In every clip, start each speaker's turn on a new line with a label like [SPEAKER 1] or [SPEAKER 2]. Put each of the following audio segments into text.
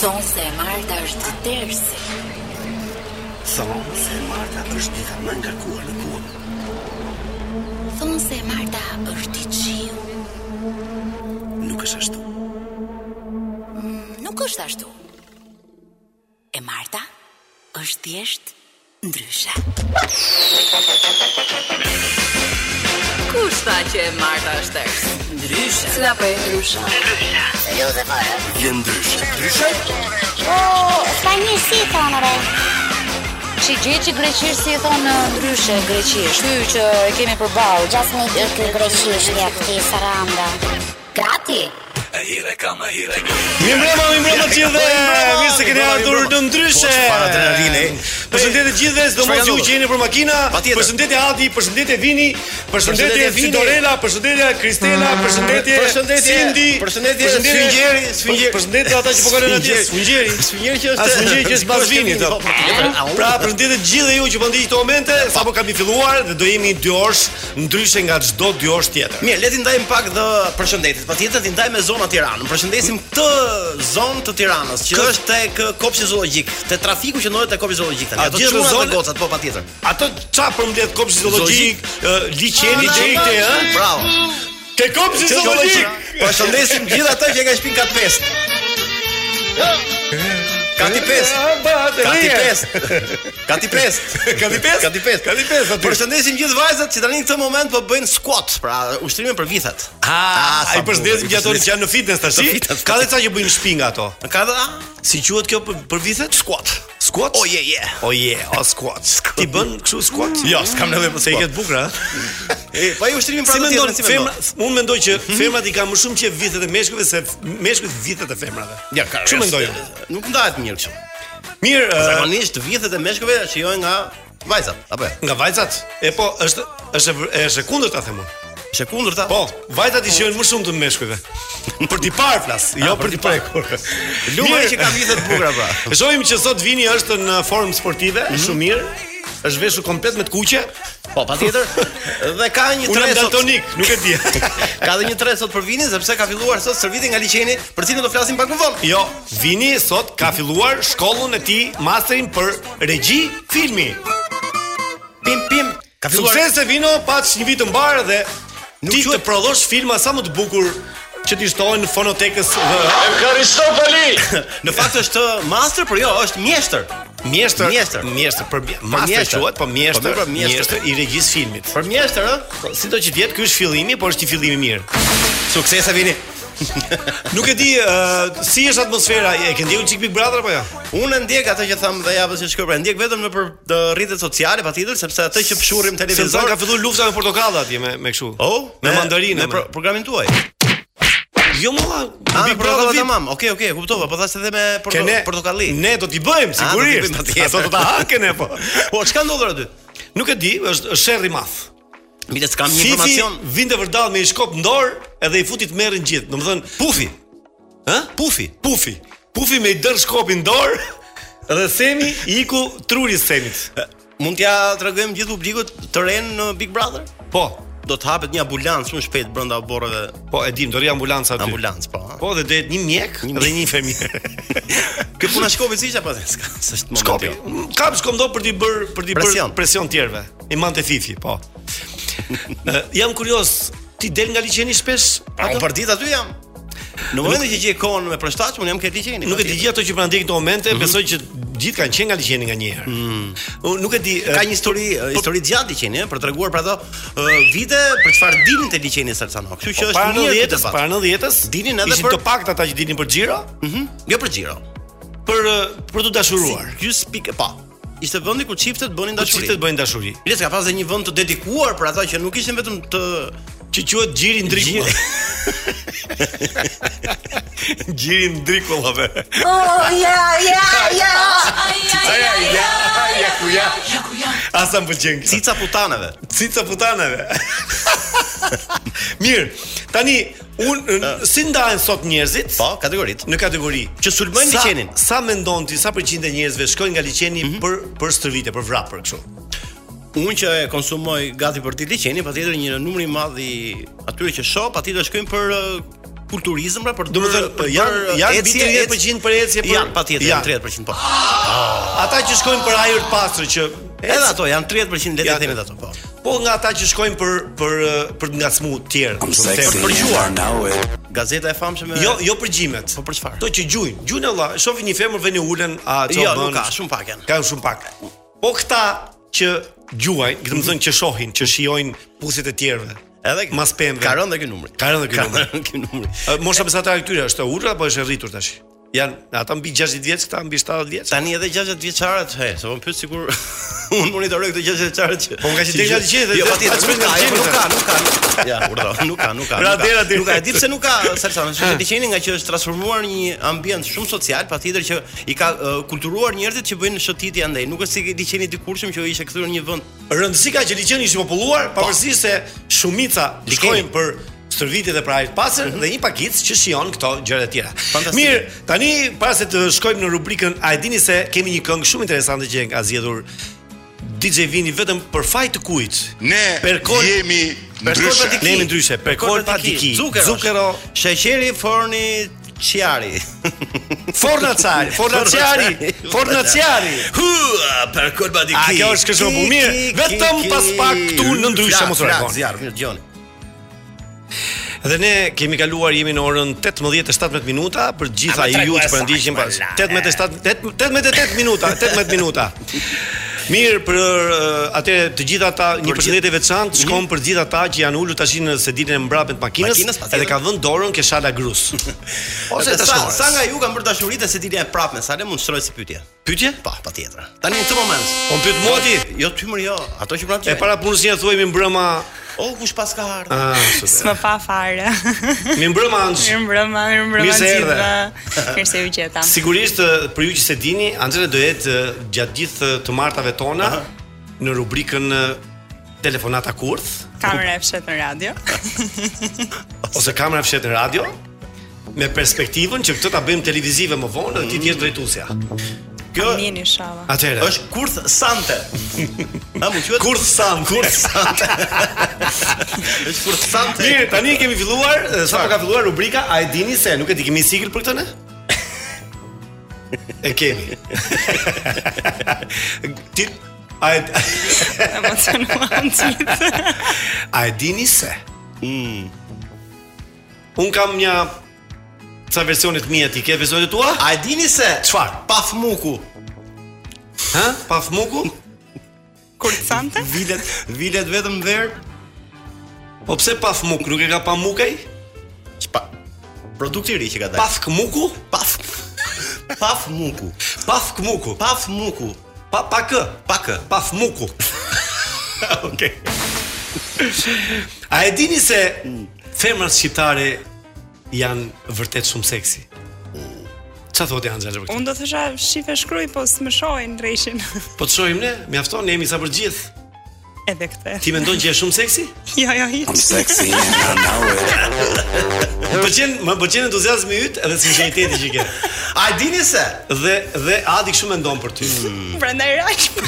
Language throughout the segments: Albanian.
[SPEAKER 1] Thonë se e Marta është tërsi.
[SPEAKER 2] Thonë se Marta është dita më ngarkuar në kuar.
[SPEAKER 1] Thonë se e Marta është i qiu.
[SPEAKER 2] Nuk është ashtu.
[SPEAKER 1] Nuk është ashtu. E Marta është thjesht ndryshe.
[SPEAKER 3] Kush tha që e Marta është tërës? Ndryshe.
[SPEAKER 1] Cila po e ndryshe?
[SPEAKER 2] Je ndryshe. Ndryshe?
[SPEAKER 4] Spanjë si i thonë re
[SPEAKER 5] Që gjë që greqisht si e thonë ndryshe greqisht. Ky që e kemi përballë.
[SPEAKER 4] Gjas me di ky greqisht ja këti saranda
[SPEAKER 1] Gati.
[SPEAKER 6] E hire kam, e hire kam.
[SPEAKER 7] Mi mbrëma, mi mbrëma të gjithëve. Mirë se keni ardhur në ndryshe.
[SPEAKER 2] Po, çfarë adrenaline, e?
[SPEAKER 7] Përshëndetje të gjithëve,
[SPEAKER 2] Çfarë
[SPEAKER 7] sidomos ju
[SPEAKER 2] ndodh?
[SPEAKER 7] që jeni për makina.
[SPEAKER 2] Patjetër.
[SPEAKER 7] Përshëndetje Adi, përshëndetje Vini, përshëndetje
[SPEAKER 2] Përshëndetje Vini. Mm,
[SPEAKER 7] Sidorela, përshëndetje Kristela, përshëndetje
[SPEAKER 2] Përshëndetje-
[SPEAKER 7] Sindi,
[SPEAKER 2] përshëndetje Sfingjeri, Sfingjeri.
[SPEAKER 7] Përshëndetje ata që po kalojnë atje,
[SPEAKER 2] Sfingjeri.
[SPEAKER 7] Sfingjeri.
[SPEAKER 2] Sfingjeri që
[SPEAKER 7] A Sfingjeri që është bazë Vini
[SPEAKER 2] Po,
[SPEAKER 7] top.
[SPEAKER 2] patjetër. Au.
[SPEAKER 7] Pra përshëndetje të gjithë ju që po ndiqni këto momente, sapo kemi filluar dhe do jemi 2 orësh ndryshe nga çdo 2 orësh tjetër.
[SPEAKER 2] Mirë, le ti ndajmë pak dhe përshëndetjet. Patjetër ti ndajmë me zonën Tiranë. Përshëndesim këtë zonë të Tiranës, që është tek uh, kopshi zoologjik, te trafiku që ndodhet te kopshi zoologjik tani.
[SPEAKER 7] A
[SPEAKER 2] Ato
[SPEAKER 7] gjithë
[SPEAKER 2] çunat
[SPEAKER 7] zonë-
[SPEAKER 2] dhe gocat, po patjetër.
[SPEAKER 7] Ato ça përmbledh kopshi zoologjik,
[SPEAKER 2] Zoologjik.
[SPEAKER 7] ë, liçeni
[SPEAKER 2] Ah,
[SPEAKER 7] deri te ë?
[SPEAKER 2] Bravo.
[SPEAKER 7] Ke kopshi zoologjik.
[SPEAKER 2] Përshëndesim gjithë ata që e kanë shtëpinë kat 5. Kati 5. Kati 5. Kati 5.
[SPEAKER 7] Kati pesë?
[SPEAKER 2] Kati 5.
[SPEAKER 7] Kati pesë aty.
[SPEAKER 2] Përshëndesim gjithë vajzat që tani në këtë moment po bëjnë squat, pra ushtrimin për vithat.
[SPEAKER 7] Ah,
[SPEAKER 2] sa
[SPEAKER 7] ai përshëndesim
[SPEAKER 2] bukur,
[SPEAKER 7] gjithë ato që janë në fitness tash.
[SPEAKER 2] Në fitness.
[SPEAKER 7] Ka dhe ca që bëjnë në shtëpi nga ato.
[SPEAKER 2] Ka dhe a?
[SPEAKER 7] Si quhet kjo për, për vitet?
[SPEAKER 2] squat.
[SPEAKER 7] Squat?
[SPEAKER 2] Oh yeah yeah.
[SPEAKER 7] O je, o squat. Ti bën kështu squat? Jo, s'kam nevojë për se i
[SPEAKER 2] Squat.
[SPEAKER 7] ket bukur, ha.
[SPEAKER 2] E, po ai ushtrimin pra
[SPEAKER 7] Si
[SPEAKER 2] do
[SPEAKER 7] mendon Mhm.
[SPEAKER 2] t'jetë,
[SPEAKER 7] femra? Unë mendoj që femrat i kanë më shumë qejf vitet e meshkujve se f- meshkujt vitet e femrave.
[SPEAKER 2] Ja, ka. jo.
[SPEAKER 7] Kështu mendoj.
[SPEAKER 2] Nuk ndahet mirë kështu.
[SPEAKER 7] Mirë, ë,
[SPEAKER 2] Zakonisht vithet e meshkëve shijojnë nga vajzat, apo? jo?
[SPEAKER 7] nga vajzat. E po, është është e vër- është e kundërta them unë.
[SPEAKER 2] Është e kundërta?
[SPEAKER 7] Po, vajzat i shijojnë më shumë të meshkujve. Për t'i parë flas, jo
[SPEAKER 2] për
[SPEAKER 7] për
[SPEAKER 2] t'i
[SPEAKER 7] t'i prekur.
[SPEAKER 2] Luma që ka vithet bukura pra.
[SPEAKER 7] E Shohim që sot Vini është në formë sportive, shumë mirë. Është veshur komplet me të kuqe.
[SPEAKER 2] Po, patjetër. Dhe ka një
[SPEAKER 7] Unë
[SPEAKER 2] tre
[SPEAKER 7] jam
[SPEAKER 2] sot.
[SPEAKER 7] daltonik, nuk e di.
[SPEAKER 2] Ka dhe një tre sot për vinin sepse ka filluar sot shërbimi nga liçeni, për cilin do flasim pak më vonë.
[SPEAKER 7] Jo, Vini sot ka filluar shkollën e tij masterin për regji filmi.
[SPEAKER 2] Pim pim. Ka filluar.
[SPEAKER 7] Sukses e Vino, paç një vit të mbar dhe
[SPEAKER 2] Nuk
[SPEAKER 7] ti
[SPEAKER 2] quhet-
[SPEAKER 7] të prodhosh filma sa më të bukur që ti shtohen në fonotekës dhe
[SPEAKER 2] Në fakt është master, por jo, është mjeshtër.
[SPEAKER 7] mjeshtër
[SPEAKER 2] Mjeshtër.
[SPEAKER 7] mjeshtër për master
[SPEAKER 2] mjeshtër.
[SPEAKER 7] quhet, po mjeshtër,
[SPEAKER 2] Po, mirë, po, mjeshtër.
[SPEAKER 7] mjeshtër i regjisë filmit.
[SPEAKER 2] Për mjeshtër, ë?
[SPEAKER 7] Po, Sido që vjet, ky është fillimi, por është një fillim i mirë.
[SPEAKER 2] Sukses e vini.
[SPEAKER 7] Nuk e di ë, si është atmosfera, e ke ndjekur çik Big Brother apo jo?
[SPEAKER 2] Unë e ndjek atë që tham dhe javës që shkoj, pra e ndjek vetëm në për dë, rrjetet sociale patjetër, sepse atë që pshurrim
[SPEAKER 7] Se sa
[SPEAKER 2] televizor
[SPEAKER 7] ka filluar lufta me portokalla atje me me kështu.
[SPEAKER 2] Oh,
[SPEAKER 7] me mandarinë.
[SPEAKER 2] me Ah, pro, programin tuaj.
[SPEAKER 7] jo molla,
[SPEAKER 2] Ah,
[SPEAKER 7] Big
[SPEAKER 2] bravo,
[SPEAKER 7] Brother vip.
[SPEAKER 2] tamam. Okej, okej, kuptova, po thashë edhe me
[SPEAKER 7] Ke
[SPEAKER 2] porto,
[SPEAKER 7] ne
[SPEAKER 2] portokalli.
[SPEAKER 7] Ne do t'i bëjmë
[SPEAKER 2] Ah, do t'i bëjmë
[SPEAKER 7] sigurisht.
[SPEAKER 2] atje.
[SPEAKER 7] Ato do ta haken e po.
[SPEAKER 2] Po çka ndodhur aty?
[SPEAKER 7] Nuk e di, është sherr i madh.
[SPEAKER 2] Mile s'kam një
[SPEAKER 7] Fifi
[SPEAKER 2] informacion.
[SPEAKER 7] vinte vërdall me një shkop në dorë edhe i futi të merrën gjithë. Domethënë pufi. Hë? Pufi. Pufi. Pufi me i dër shkopin në dorë dhe Semi i iku truri Semit.
[SPEAKER 2] Mund t'ja tregojmë gjithë publikut të renë në Big Brother?
[SPEAKER 7] Po,
[SPEAKER 2] Do të hapet një ambulancë shumë shpejt brenda borreve
[SPEAKER 7] po e dim, do ri ambulanca aty.
[SPEAKER 2] ambulancë, po. ha?
[SPEAKER 7] Po dhe do jetë një mjek dhe një infermier.
[SPEAKER 2] Kjo puna shkopit si ishte apo s'ka? S'është jo.
[SPEAKER 7] Shkopi.
[SPEAKER 2] momenti.
[SPEAKER 7] Kap shkom do për t'i bër për t'i bër
[SPEAKER 2] Presion.
[SPEAKER 7] presion tjerëve. I mante fifi, po. Ë, jam kurioz, ti del nga liçeni shpesh?
[SPEAKER 2] A unë për ditë aty jam. Në momentin që gjej kohën me përshtatshëm, unë jam ke liçeni.
[SPEAKER 7] Nuk e di
[SPEAKER 2] patjetër.
[SPEAKER 7] gjithë ato që po na ndjekin këto momente, besoj që gjithë kanë qenë nga liçeni nga një herë. Unë Nuk e po, di. ë,
[SPEAKER 2] Ka një histori, eh, histori gjatë liçeni, eh, për treguar për ato eh, vite për çfarë dinin te liçeni Salsano. Kështu që
[SPEAKER 7] po,
[SPEAKER 2] është
[SPEAKER 7] para
[SPEAKER 2] mirë ky
[SPEAKER 7] 90-s,
[SPEAKER 2] debat.
[SPEAKER 7] para 90-s
[SPEAKER 2] Dinin edhe
[SPEAKER 7] ishin
[SPEAKER 2] për-
[SPEAKER 7] të paktë ata që dinin për xhiro,
[SPEAKER 2] Mhm. Jo për xhiro.
[SPEAKER 7] për ë, për të dashuruar.
[SPEAKER 2] Gjys pikë pa. po, Ishte vendi ku çiftet bënin
[SPEAKER 7] Ku
[SPEAKER 2] dashuri.
[SPEAKER 7] çiftet bëjnë dashuri.
[SPEAKER 2] Biles ka pas dhe një vend të dedikuar për ata që nuk ishin vetëm të
[SPEAKER 7] Që quhet xhiri ndrikull. Xhiri ndrikullave.
[SPEAKER 5] Oh, ja, ja, ja.
[SPEAKER 1] Oh,
[SPEAKER 7] Asa më pëlqen kjo.
[SPEAKER 2] cica putaneve.
[SPEAKER 7] Cica putanave. Mirë, tani unë si ndahen sot njerëzit
[SPEAKER 2] Po, kategorit.
[SPEAKER 7] në kategori
[SPEAKER 2] Që sulmojnë
[SPEAKER 7] Sa-
[SPEAKER 2] liçenin. Mhm.
[SPEAKER 7] Sa mendon ti sa përqindje njerëzve shkojnë nga liçeni për për stërvitje, për vrap për kështu?
[SPEAKER 2] Unë që e konsumoj gati për ditë liçeni, patjetër një numër i madh i atyre që shoh, patjetër shkojnë për eh, kulturizëm pra për
[SPEAKER 7] Domethënë janë janë mbi 30% për ecje për
[SPEAKER 2] janë patjetër janë 30% po.
[SPEAKER 7] Ata që shkojnë për ajër të pastër që
[SPEAKER 2] Edhe ato janë 30% le të
[SPEAKER 7] Janë-
[SPEAKER 2] themi ato po.
[SPEAKER 7] Po nga ata që shkojnë për për për të ngacmuar të tjerë,
[SPEAKER 6] I'm
[SPEAKER 7] për
[SPEAKER 6] sexy
[SPEAKER 7] të përgjuar.
[SPEAKER 6] and I know
[SPEAKER 2] eh.
[SPEAKER 6] it.
[SPEAKER 2] Gazeta e famshme
[SPEAKER 7] Jo, jo për gjimet.
[SPEAKER 2] Po për çfarë?
[SPEAKER 7] Ato që gjujnë, gjujnë valla, shohin një femër vjen e ulen, a çfarë
[SPEAKER 2] Jo, nuk ka, shumë pak janë.
[SPEAKER 7] Ka shumë pak. Po këta që gjuajnë, do të thonë që shohin, që shijojnë puthjet e tjerëve.
[SPEAKER 2] Edhe
[SPEAKER 7] mas pemëve.
[SPEAKER 2] Ka rënë dhe ky numri.
[SPEAKER 7] Ka rënë dhe ky numër.
[SPEAKER 2] rënë ky numri.
[SPEAKER 7] Ë, Mosha besatare e këtyre është e ulur apo është e rritur tash? Jan ata mbi 60 vjeç, këta mbi 70 vjeç.
[SPEAKER 2] Tani edhe 60 vjeçarët, he, se po më pyet sikur unë monitoroj këto 60 vjeçarët që.
[SPEAKER 7] Po më ka qenë deri në
[SPEAKER 2] që-
[SPEAKER 7] 60
[SPEAKER 2] Jo,
[SPEAKER 7] dhe-
[SPEAKER 2] patjetër, nuk ka,
[SPEAKER 7] atë
[SPEAKER 2] jo,
[SPEAKER 7] qenë
[SPEAKER 2] nuk ka, nuk ka. nuk ka. Ja, urdo, nuk ka, nuk ka. nuk ka.
[SPEAKER 7] Radera deri.
[SPEAKER 2] Nuk ka, e di pse nuk ka Salsan, është që ti qeni nga që është transformuar në një ambient shumë social, patjetër që i ka uh, kulturuar njerëzit që bëjnë shëtitje andaj. Nuk është si ti qeni dikurshëm që ishte kthyer në një vend
[SPEAKER 7] Rëndësi ka që liçeni ishte populluar, pavarësisht se shumica
[SPEAKER 2] Liçeni.
[SPEAKER 7] shkojnë për stërvitje dhe për ajër të pastër dhe një pakicë që shijon këto gjëra të tjera.
[SPEAKER 2] Fantastike.
[SPEAKER 7] Mirë, tani para se të shkojmë në rubrikën A e dini se kemi një këngë shumë interesante që e ka zgjedhur DJ Vini vetëm për faj të kujt?
[SPEAKER 8] Ne
[SPEAKER 7] Perkol-
[SPEAKER 8] jemi ndryshe.
[SPEAKER 7] Ne jemi ndryshe, perkol pa diki.
[SPEAKER 2] Zukero,
[SPEAKER 7] Zukero,
[SPEAKER 2] sheqeri, forni, qiari.
[SPEAKER 7] Fornacar, Fornaciari, Fornaciari.
[SPEAKER 2] Hua, për kolba diki.
[SPEAKER 7] A, kjo është kështu, po mirë, vetëm pas pak këtu në ndryshe, mos u largon.
[SPEAKER 2] Zjarr, mirë dëgjoni.
[SPEAKER 7] Dhe ne kemi kaluar jemi në orën 18:17 minuta për të gjitha
[SPEAKER 2] A, ma
[SPEAKER 7] ju
[SPEAKER 2] tregu
[SPEAKER 7] që
[SPEAKER 2] e
[SPEAKER 7] po
[SPEAKER 2] saktë,
[SPEAKER 7] ndiqni pas
[SPEAKER 2] la,
[SPEAKER 7] 18:07 18:08 minuta, 18 minuta. Mirë për eh, atëre të gjitha ata një
[SPEAKER 2] Për
[SPEAKER 7] përshëndetje veçantë shkon për të gjithë ata që janë ulur tash në sedilën e mbrapet të
[SPEAKER 2] Makinës,
[SPEAKER 7] makinës
[SPEAKER 2] patjetër.
[SPEAKER 7] edhe kanë vënë dorën ke shala grus. Ose
[SPEAKER 2] Edhe
[SPEAKER 7] tash
[SPEAKER 2] sa, sa nga ju kanë bërë dashuritë se dilja e prapme, sa le mund të shtroj si pyetje.
[SPEAKER 7] pyetje?
[SPEAKER 2] Po, patjetër. Tani në këtë moment.
[SPEAKER 7] Po pyet moti.
[SPEAKER 2] Jo ty mër jo, ato që prapë.
[SPEAKER 7] E para punës një thuaj mi mbrëma
[SPEAKER 2] o kush pas ka ardhur.
[SPEAKER 7] Ah, super.
[SPEAKER 9] S'më pa fare.
[SPEAKER 7] Mi mbrëma anxh.
[SPEAKER 9] Mirë mbrëma, mirë mbrëma
[SPEAKER 7] Mirë se
[SPEAKER 9] të
[SPEAKER 7] erdhe.
[SPEAKER 9] gjithëve. Mirë se u gjeta.
[SPEAKER 7] Sigurisht ë, për ju që se dini, Anxhela do jetë ë, gjatë gjithë ë, të martave tona në rubrikën ë, telefonata kurth
[SPEAKER 9] Kamera e fshet në radio.
[SPEAKER 7] ose kamera fshet në radio me perspektivën që këtë ta bëjmë televizive më vonë dhe ti të jesh drejtuesja.
[SPEAKER 2] Kjo
[SPEAKER 9] Amin inshallah.
[SPEAKER 7] Atëherë,
[SPEAKER 2] është kurth sante. A mund quhet
[SPEAKER 7] kurth sam, kurth sam.
[SPEAKER 2] Është kurth sante.
[SPEAKER 7] Mirë, tani kemi filluar, ë, sapo ka filluar rubrika, a e dini se nuk e di kemi sigël për këtë ne? E kemi. ti a e
[SPEAKER 9] Emocionuam gjithë.
[SPEAKER 7] A e dini se? Mm.
[SPEAKER 2] Hmm.
[SPEAKER 7] Un kam një ca versione të mia ti, ke versionet tua?
[SPEAKER 2] A e dini se
[SPEAKER 7] Çfarë?
[SPEAKER 2] Pafmuku
[SPEAKER 7] Ha? Pa fmuku?
[SPEAKER 9] Kurcante?
[SPEAKER 2] vilet vilet vetëm ver
[SPEAKER 7] Po pse pa fmuk? Nuk e ka pa mukaj?
[SPEAKER 2] çpa produkt i ri që ka dalë.
[SPEAKER 7] Pa fkmuku?
[SPEAKER 2] paf Pafmuku.
[SPEAKER 7] Pa fkmuku.
[SPEAKER 2] Pafmuku.
[SPEAKER 7] Pa pa kë?
[SPEAKER 2] Pa kë.
[SPEAKER 7] Pa fmuku.
[SPEAKER 2] Okej.
[SPEAKER 7] A e dini se femrat shqiptare janë vërtet shumë seksi? Qa thotë Angela për këtë?
[SPEAKER 9] Unë do thësha shife shkruaj, po s'më shohin ndreshin.
[SPEAKER 7] Po të shohim ne, mjafton, ne jemi sa për gjithë.
[SPEAKER 9] Edhe këtë.
[SPEAKER 7] Ti mendon që je shumë seksi?
[SPEAKER 9] Jo, jo,
[SPEAKER 6] I'm
[SPEAKER 9] hiç.
[SPEAKER 6] sexy and I know it.
[SPEAKER 7] Më pëlqen, më pëlqen entuziazmi yt edhe sinqeriteti që ke.
[SPEAKER 2] A e dini se
[SPEAKER 7] Dhe dhe Adi kështu mendon për ty.
[SPEAKER 9] Prandaj raq.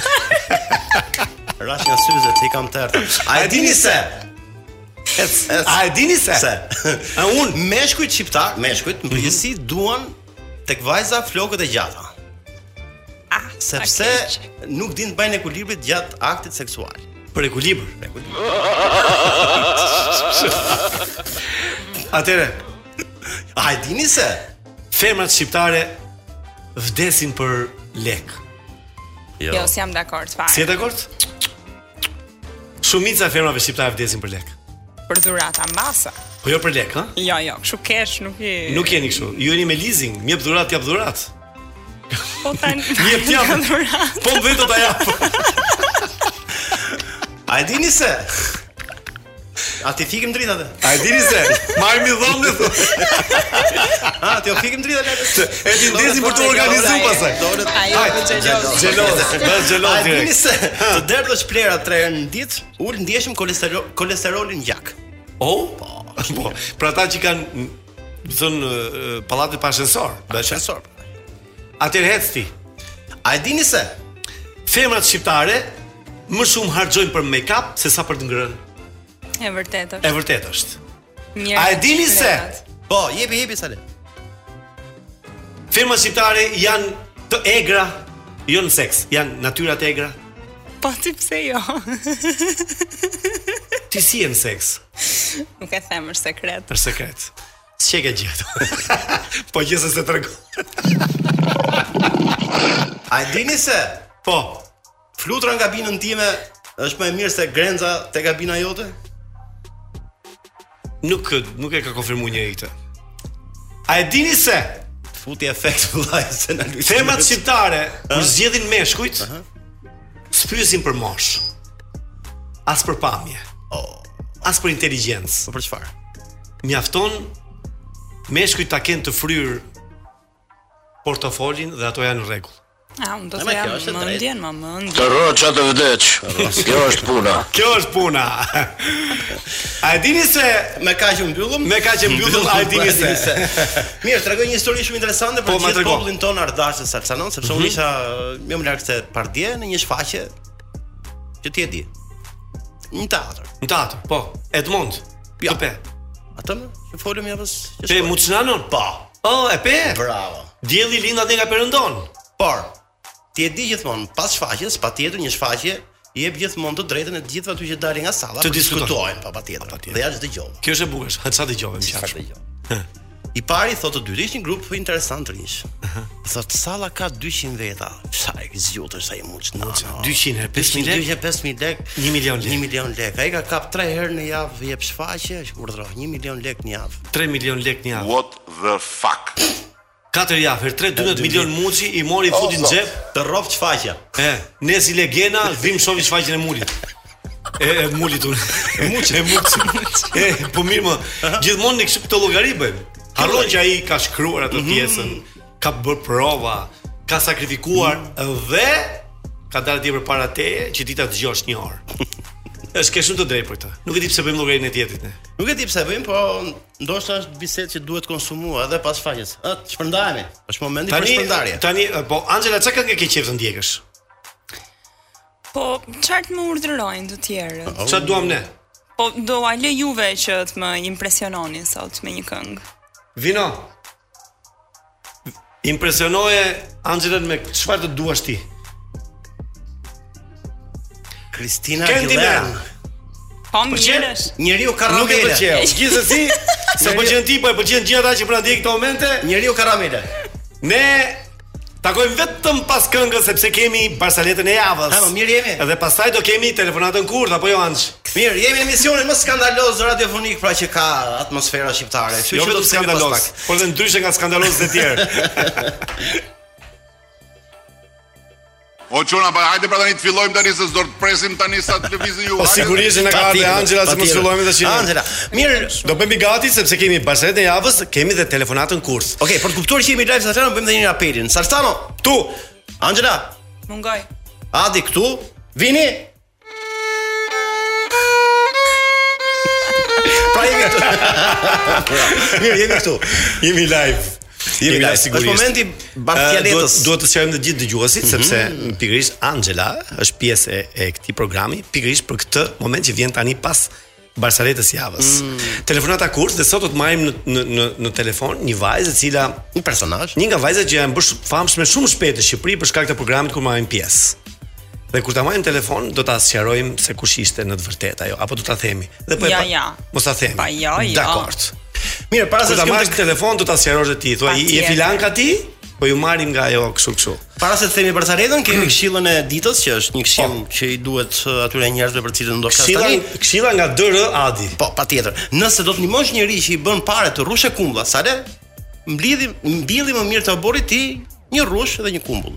[SPEAKER 2] Rash nga syze ti kam tërë. A e dini se
[SPEAKER 7] A e dini se?
[SPEAKER 2] se
[SPEAKER 7] A Mhm. unë
[SPEAKER 2] meshkujt shqiptar, meshkujt në përgjithësi duan tek vajza flokët e gjata,
[SPEAKER 9] Ah,
[SPEAKER 2] sepse nuk din të bajnë ekuilibrit gjatë aktit seksual.
[SPEAKER 7] për ekuilibër. Atëre,
[SPEAKER 2] A e dini se
[SPEAKER 7] femrat shqiptare vdesin për lek.
[SPEAKER 9] Jo, s'jam dakord
[SPEAKER 7] Si
[SPEAKER 9] fare.
[SPEAKER 7] e dakord? Shumica e femrave shqiptare vdesin për lek.
[SPEAKER 9] Për dhurata mbasa.
[SPEAKER 7] Po jo për lek, ha?
[SPEAKER 9] Jo, jo, kështu kesh nuk i
[SPEAKER 7] Nuk jeni kështu. Ju jeni me leasing, mjep dhurat, jap dhurat.
[SPEAKER 9] po tani.
[SPEAKER 7] Jep jap.
[SPEAKER 9] Ka dhurat.
[SPEAKER 7] Po vetë do ta jap.
[SPEAKER 2] A e dini se? A ti fikim dritat?
[SPEAKER 7] A e dini se? Marr mi dhomën thonë.
[SPEAKER 2] A ti o fikim dritat?
[SPEAKER 7] E ti vdesin për të organizuar pastaj.
[SPEAKER 9] Ajo
[SPEAKER 7] Hajt,
[SPEAKER 9] po xheloz.
[SPEAKER 7] Xheloz, bëhet
[SPEAKER 2] A
[SPEAKER 7] xheloz
[SPEAKER 2] e dini
[SPEAKER 7] direkt.
[SPEAKER 2] se të derdhësh plera 3 herë në ditë, ul ndjeshim kolesterol kolesterolin gjak.
[SPEAKER 7] Oh? Po. Pra ata që kanë m, thon eh, pallate pa ascensor.
[SPEAKER 2] Sensor.
[SPEAKER 7] Atëherë hec ti.
[SPEAKER 2] A e dini se?
[SPEAKER 7] Femrat Pra shqiptare më shumë harxojnë për make-up se sa për të ngrënë.
[SPEAKER 9] E vërtetë
[SPEAKER 7] E
[SPEAKER 9] është.
[SPEAKER 7] vërtet është.
[SPEAKER 9] Mirë.
[SPEAKER 7] A e dini se
[SPEAKER 2] Po, jepi, jepi Sale.
[SPEAKER 7] Firma shqiptare janë të egra, jo në seks, janë natyra të egra.
[SPEAKER 9] Po ti pse jo?
[SPEAKER 7] Ti si je në seks?
[SPEAKER 9] Nuk e them është sekret.
[SPEAKER 7] Për sekret. S'e ke gjetur. po gjithsesi se tregon.
[SPEAKER 2] A e dini se
[SPEAKER 7] Po.
[SPEAKER 2] flutura nga binën time është më e mirë se grenza te kabina jote?
[SPEAKER 7] Nuk nuk e ka konfirmuar njëri këtë. A e dini se
[SPEAKER 2] Futi efekt vëllai se na luajti.
[SPEAKER 7] Themat shqiptare kur zgjedhin meshkujt, s'pyesin për mosh. As për pamje. As për inteligjencë.
[SPEAKER 2] Po për çfarë?
[SPEAKER 7] Mjafton meshkujt ta kenë të fryrë portofolin dhe ato janë në rregull.
[SPEAKER 9] A, Ah, unë do
[SPEAKER 2] Ma,
[SPEAKER 9] të
[SPEAKER 2] kjo
[SPEAKER 9] jam
[SPEAKER 2] është e drejtë.
[SPEAKER 9] mendjen, më mendjen.
[SPEAKER 6] Të roqa të vdeq. Kjo është puna.
[SPEAKER 7] Kjo është puna. A e dini se
[SPEAKER 2] Me kaq u mbyllëm?
[SPEAKER 7] Me kaq e mbyllëm, a e dini se?
[SPEAKER 2] Mirë, tregoj një histori shumë interesante për
[SPEAKER 7] Po, ma Mhm.
[SPEAKER 2] gjithë
[SPEAKER 7] trego.
[SPEAKER 2] popullin ton ardhash të Salsanon, sepse unë isha eh, më lart se partje në një shfaqje që ti e di. Një teatr.
[SPEAKER 7] në teatr, po, Edmond.
[SPEAKER 2] Ja.
[SPEAKER 7] Të pe.
[SPEAKER 2] Atë më që folëm javës që
[SPEAKER 7] Pe
[SPEAKER 2] shkoj.
[SPEAKER 7] Muçnanon?
[SPEAKER 2] Po.
[SPEAKER 7] Oh, e pe.
[SPEAKER 2] Bravo.
[SPEAKER 7] Dielli lind atë nga Perëndon.
[SPEAKER 2] Por ti e di gjithmonë pas shfaqjes, patjetër një shfaqje i jep gjithmonë të drejtën e të gjithëve aty që dalin nga salla
[SPEAKER 7] Të
[SPEAKER 2] për
[SPEAKER 7] diskutojnë.
[SPEAKER 2] diskutojnë, po patjetër. Dhe ja dëgjova.
[SPEAKER 7] Kjo është e bukur. Ha çfarë dëgjova më qartë.
[SPEAKER 2] I pari thotë të dytë, ishin grup interesant rish. Thotë salla ka 200 veta. Sa e zgjutesh sa i muç.
[SPEAKER 7] 200 herë 5000 lekë.
[SPEAKER 2] 5000 lek,
[SPEAKER 7] 1 milion lek.
[SPEAKER 2] 1 milion lek. Ai ka kap 3 herë në javë jep shfaqje, urdhro 1 milion lek në javë.
[SPEAKER 7] 3 milion lek në javë.
[SPEAKER 8] What the fuck?
[SPEAKER 7] 4 javë, herë 3 12 milion muçi i mori futi në xhep.
[SPEAKER 2] Të rroft shfaqja.
[SPEAKER 7] E, nesi legena, dhim shovi shfaqjen e mulit. E, e mulit unë. E muçi, e muçi. E, po mirë më, gjithmonë ne kështu këtë llogari bëjmë. Harron që ai ka shkruar atë pjesën, ka bërë prova, ka sakrifikuar dhe ka dalë ti përpara teje që ti ta dëgjosh një orë. Është ke shumë të drejtë për këtë. Nuk e di pse bëjmë llogarinë e tjetrit ne.
[SPEAKER 2] Nuk e di pse bëjmë, po ndoshta është bisedë që duhet konsumuar edhe pas shfaqjes. Ë, shpërndajemi. Është momenti për shpërndarje.
[SPEAKER 7] tani e, po Angela çka këngë ke qejf të ndjekësh?
[SPEAKER 9] Po, çfarë të më urdhërojnë të tjerët?
[SPEAKER 7] Çfarë duam ne?
[SPEAKER 9] Po, do a lë juve që të më impresiononi sot me një këngë.
[SPEAKER 7] Vino. Impresionoje Angelën me çfarë të duash ti?
[SPEAKER 2] Kristina
[SPEAKER 7] Candyman.
[SPEAKER 2] Aguilera.
[SPEAKER 9] Po,
[SPEAKER 7] çe-
[SPEAKER 9] mirë është.
[SPEAKER 2] Njeriu
[SPEAKER 7] Nuk e
[SPEAKER 2] karamele.
[SPEAKER 7] pëlqeu. Gjithsesi, se pëlqen ti, po e pëlqen gjithë ata që pranë ndjek këto momente.
[SPEAKER 2] Njeriu karamele.
[SPEAKER 7] Ne takojmë vetëm pas këngës sepse kemi barsaletën e javës.
[SPEAKER 2] Ha, më mirë jemi.
[SPEAKER 7] Edhe pastaj do kemi telefonatën kurt apo jo Anxh?
[SPEAKER 2] Mirë, jemi në emisionin më skandaloz radiofonik pra që ka atmosfera shqiptare. Kështu
[SPEAKER 7] Jo
[SPEAKER 2] që
[SPEAKER 7] vetëm
[SPEAKER 2] do të themi pas
[SPEAKER 7] skandaloz,
[SPEAKER 2] pak.
[SPEAKER 7] por edhe ndryshe nga skandalozët e tjerë.
[SPEAKER 8] O çuna, pa hajde pra tani të fillojmë tani se s'do të presim tani sa të lëvizë ju.
[SPEAKER 7] Po
[SPEAKER 8] hajde.
[SPEAKER 7] sigurisht që na ka ardhur
[SPEAKER 2] Patjetër,
[SPEAKER 7] Anxhela se mos
[SPEAKER 2] patjetër.
[SPEAKER 7] fillojmë tash.
[SPEAKER 2] Angela, mirë,
[SPEAKER 7] Do bëhemi gati sepse kemi barsaletën e javës, kemi dhe telefonatën kurs.
[SPEAKER 2] Okej, për të kuptuar që jemi live Saltano, bëjmë edhe një apelin. Saltano, këtu. Angela,
[SPEAKER 9] Mungoj.
[SPEAKER 2] Adi këtu. Vini. Pra jemi këtu. Pra, Mirë, jemi këtu.
[SPEAKER 7] Jemi live. Jemi live sigurisht. Eh,
[SPEAKER 2] Është momenti Mhm.
[SPEAKER 7] Duhet
[SPEAKER 2] Bartjaletës.
[SPEAKER 7] duhet të sqarojmë të gjithë dëgjuesit sepse pikërisht Angela është pjesë e, e këtij programi, pikërisht për këtë moment që vjen tani pas Barsaletës javës.
[SPEAKER 2] Mhm.
[SPEAKER 7] Telefonata kurs dhe sot do të marrim në në në, në telefon një vajzë e cila
[SPEAKER 2] një personazh.
[SPEAKER 7] Një nga vajzat që janë bërë shumë- famshme shumë shpejt në Shqipëri për shkak të programit ku marrin pjesë. Dhe kur ta marrim telefon do ta sqarojmë se kush ishte në të vërtetë ajo, apo do ta themi. Dhe po e
[SPEAKER 9] Ja,
[SPEAKER 7] pa-
[SPEAKER 9] ja.
[SPEAKER 7] Mos ta themi.
[SPEAKER 9] Pa, ja, ja.
[SPEAKER 7] Dakord.
[SPEAKER 2] Mirë, para
[SPEAKER 7] Kur
[SPEAKER 2] se
[SPEAKER 7] ta
[SPEAKER 2] të
[SPEAKER 7] marrësh
[SPEAKER 2] shkojmë
[SPEAKER 7] në
[SPEAKER 2] tek
[SPEAKER 7] telefon do ta sqarosh dhe ti. Thua,
[SPEAKER 9] Pa
[SPEAKER 7] "Je
[SPEAKER 9] tjetër.
[SPEAKER 7] filan ka ti?" Po ju marrim nga ajo kështu kështu.
[SPEAKER 2] para se të themi Barsaletën, kemi këshillën e ditës që është një këshill që i duhet uh, atyre njerëzve për cilën ndoshta
[SPEAKER 7] Po. Këshilla,
[SPEAKER 2] tani.
[SPEAKER 7] këshilla nga DR Adi.
[SPEAKER 2] Po, patjetër. Nëse do të ndihmosh njëri që i bën parë të rrushë kumbulla, sa le mblidhi mbilli më mirë të oborit ti një rrush dhe një kumbull.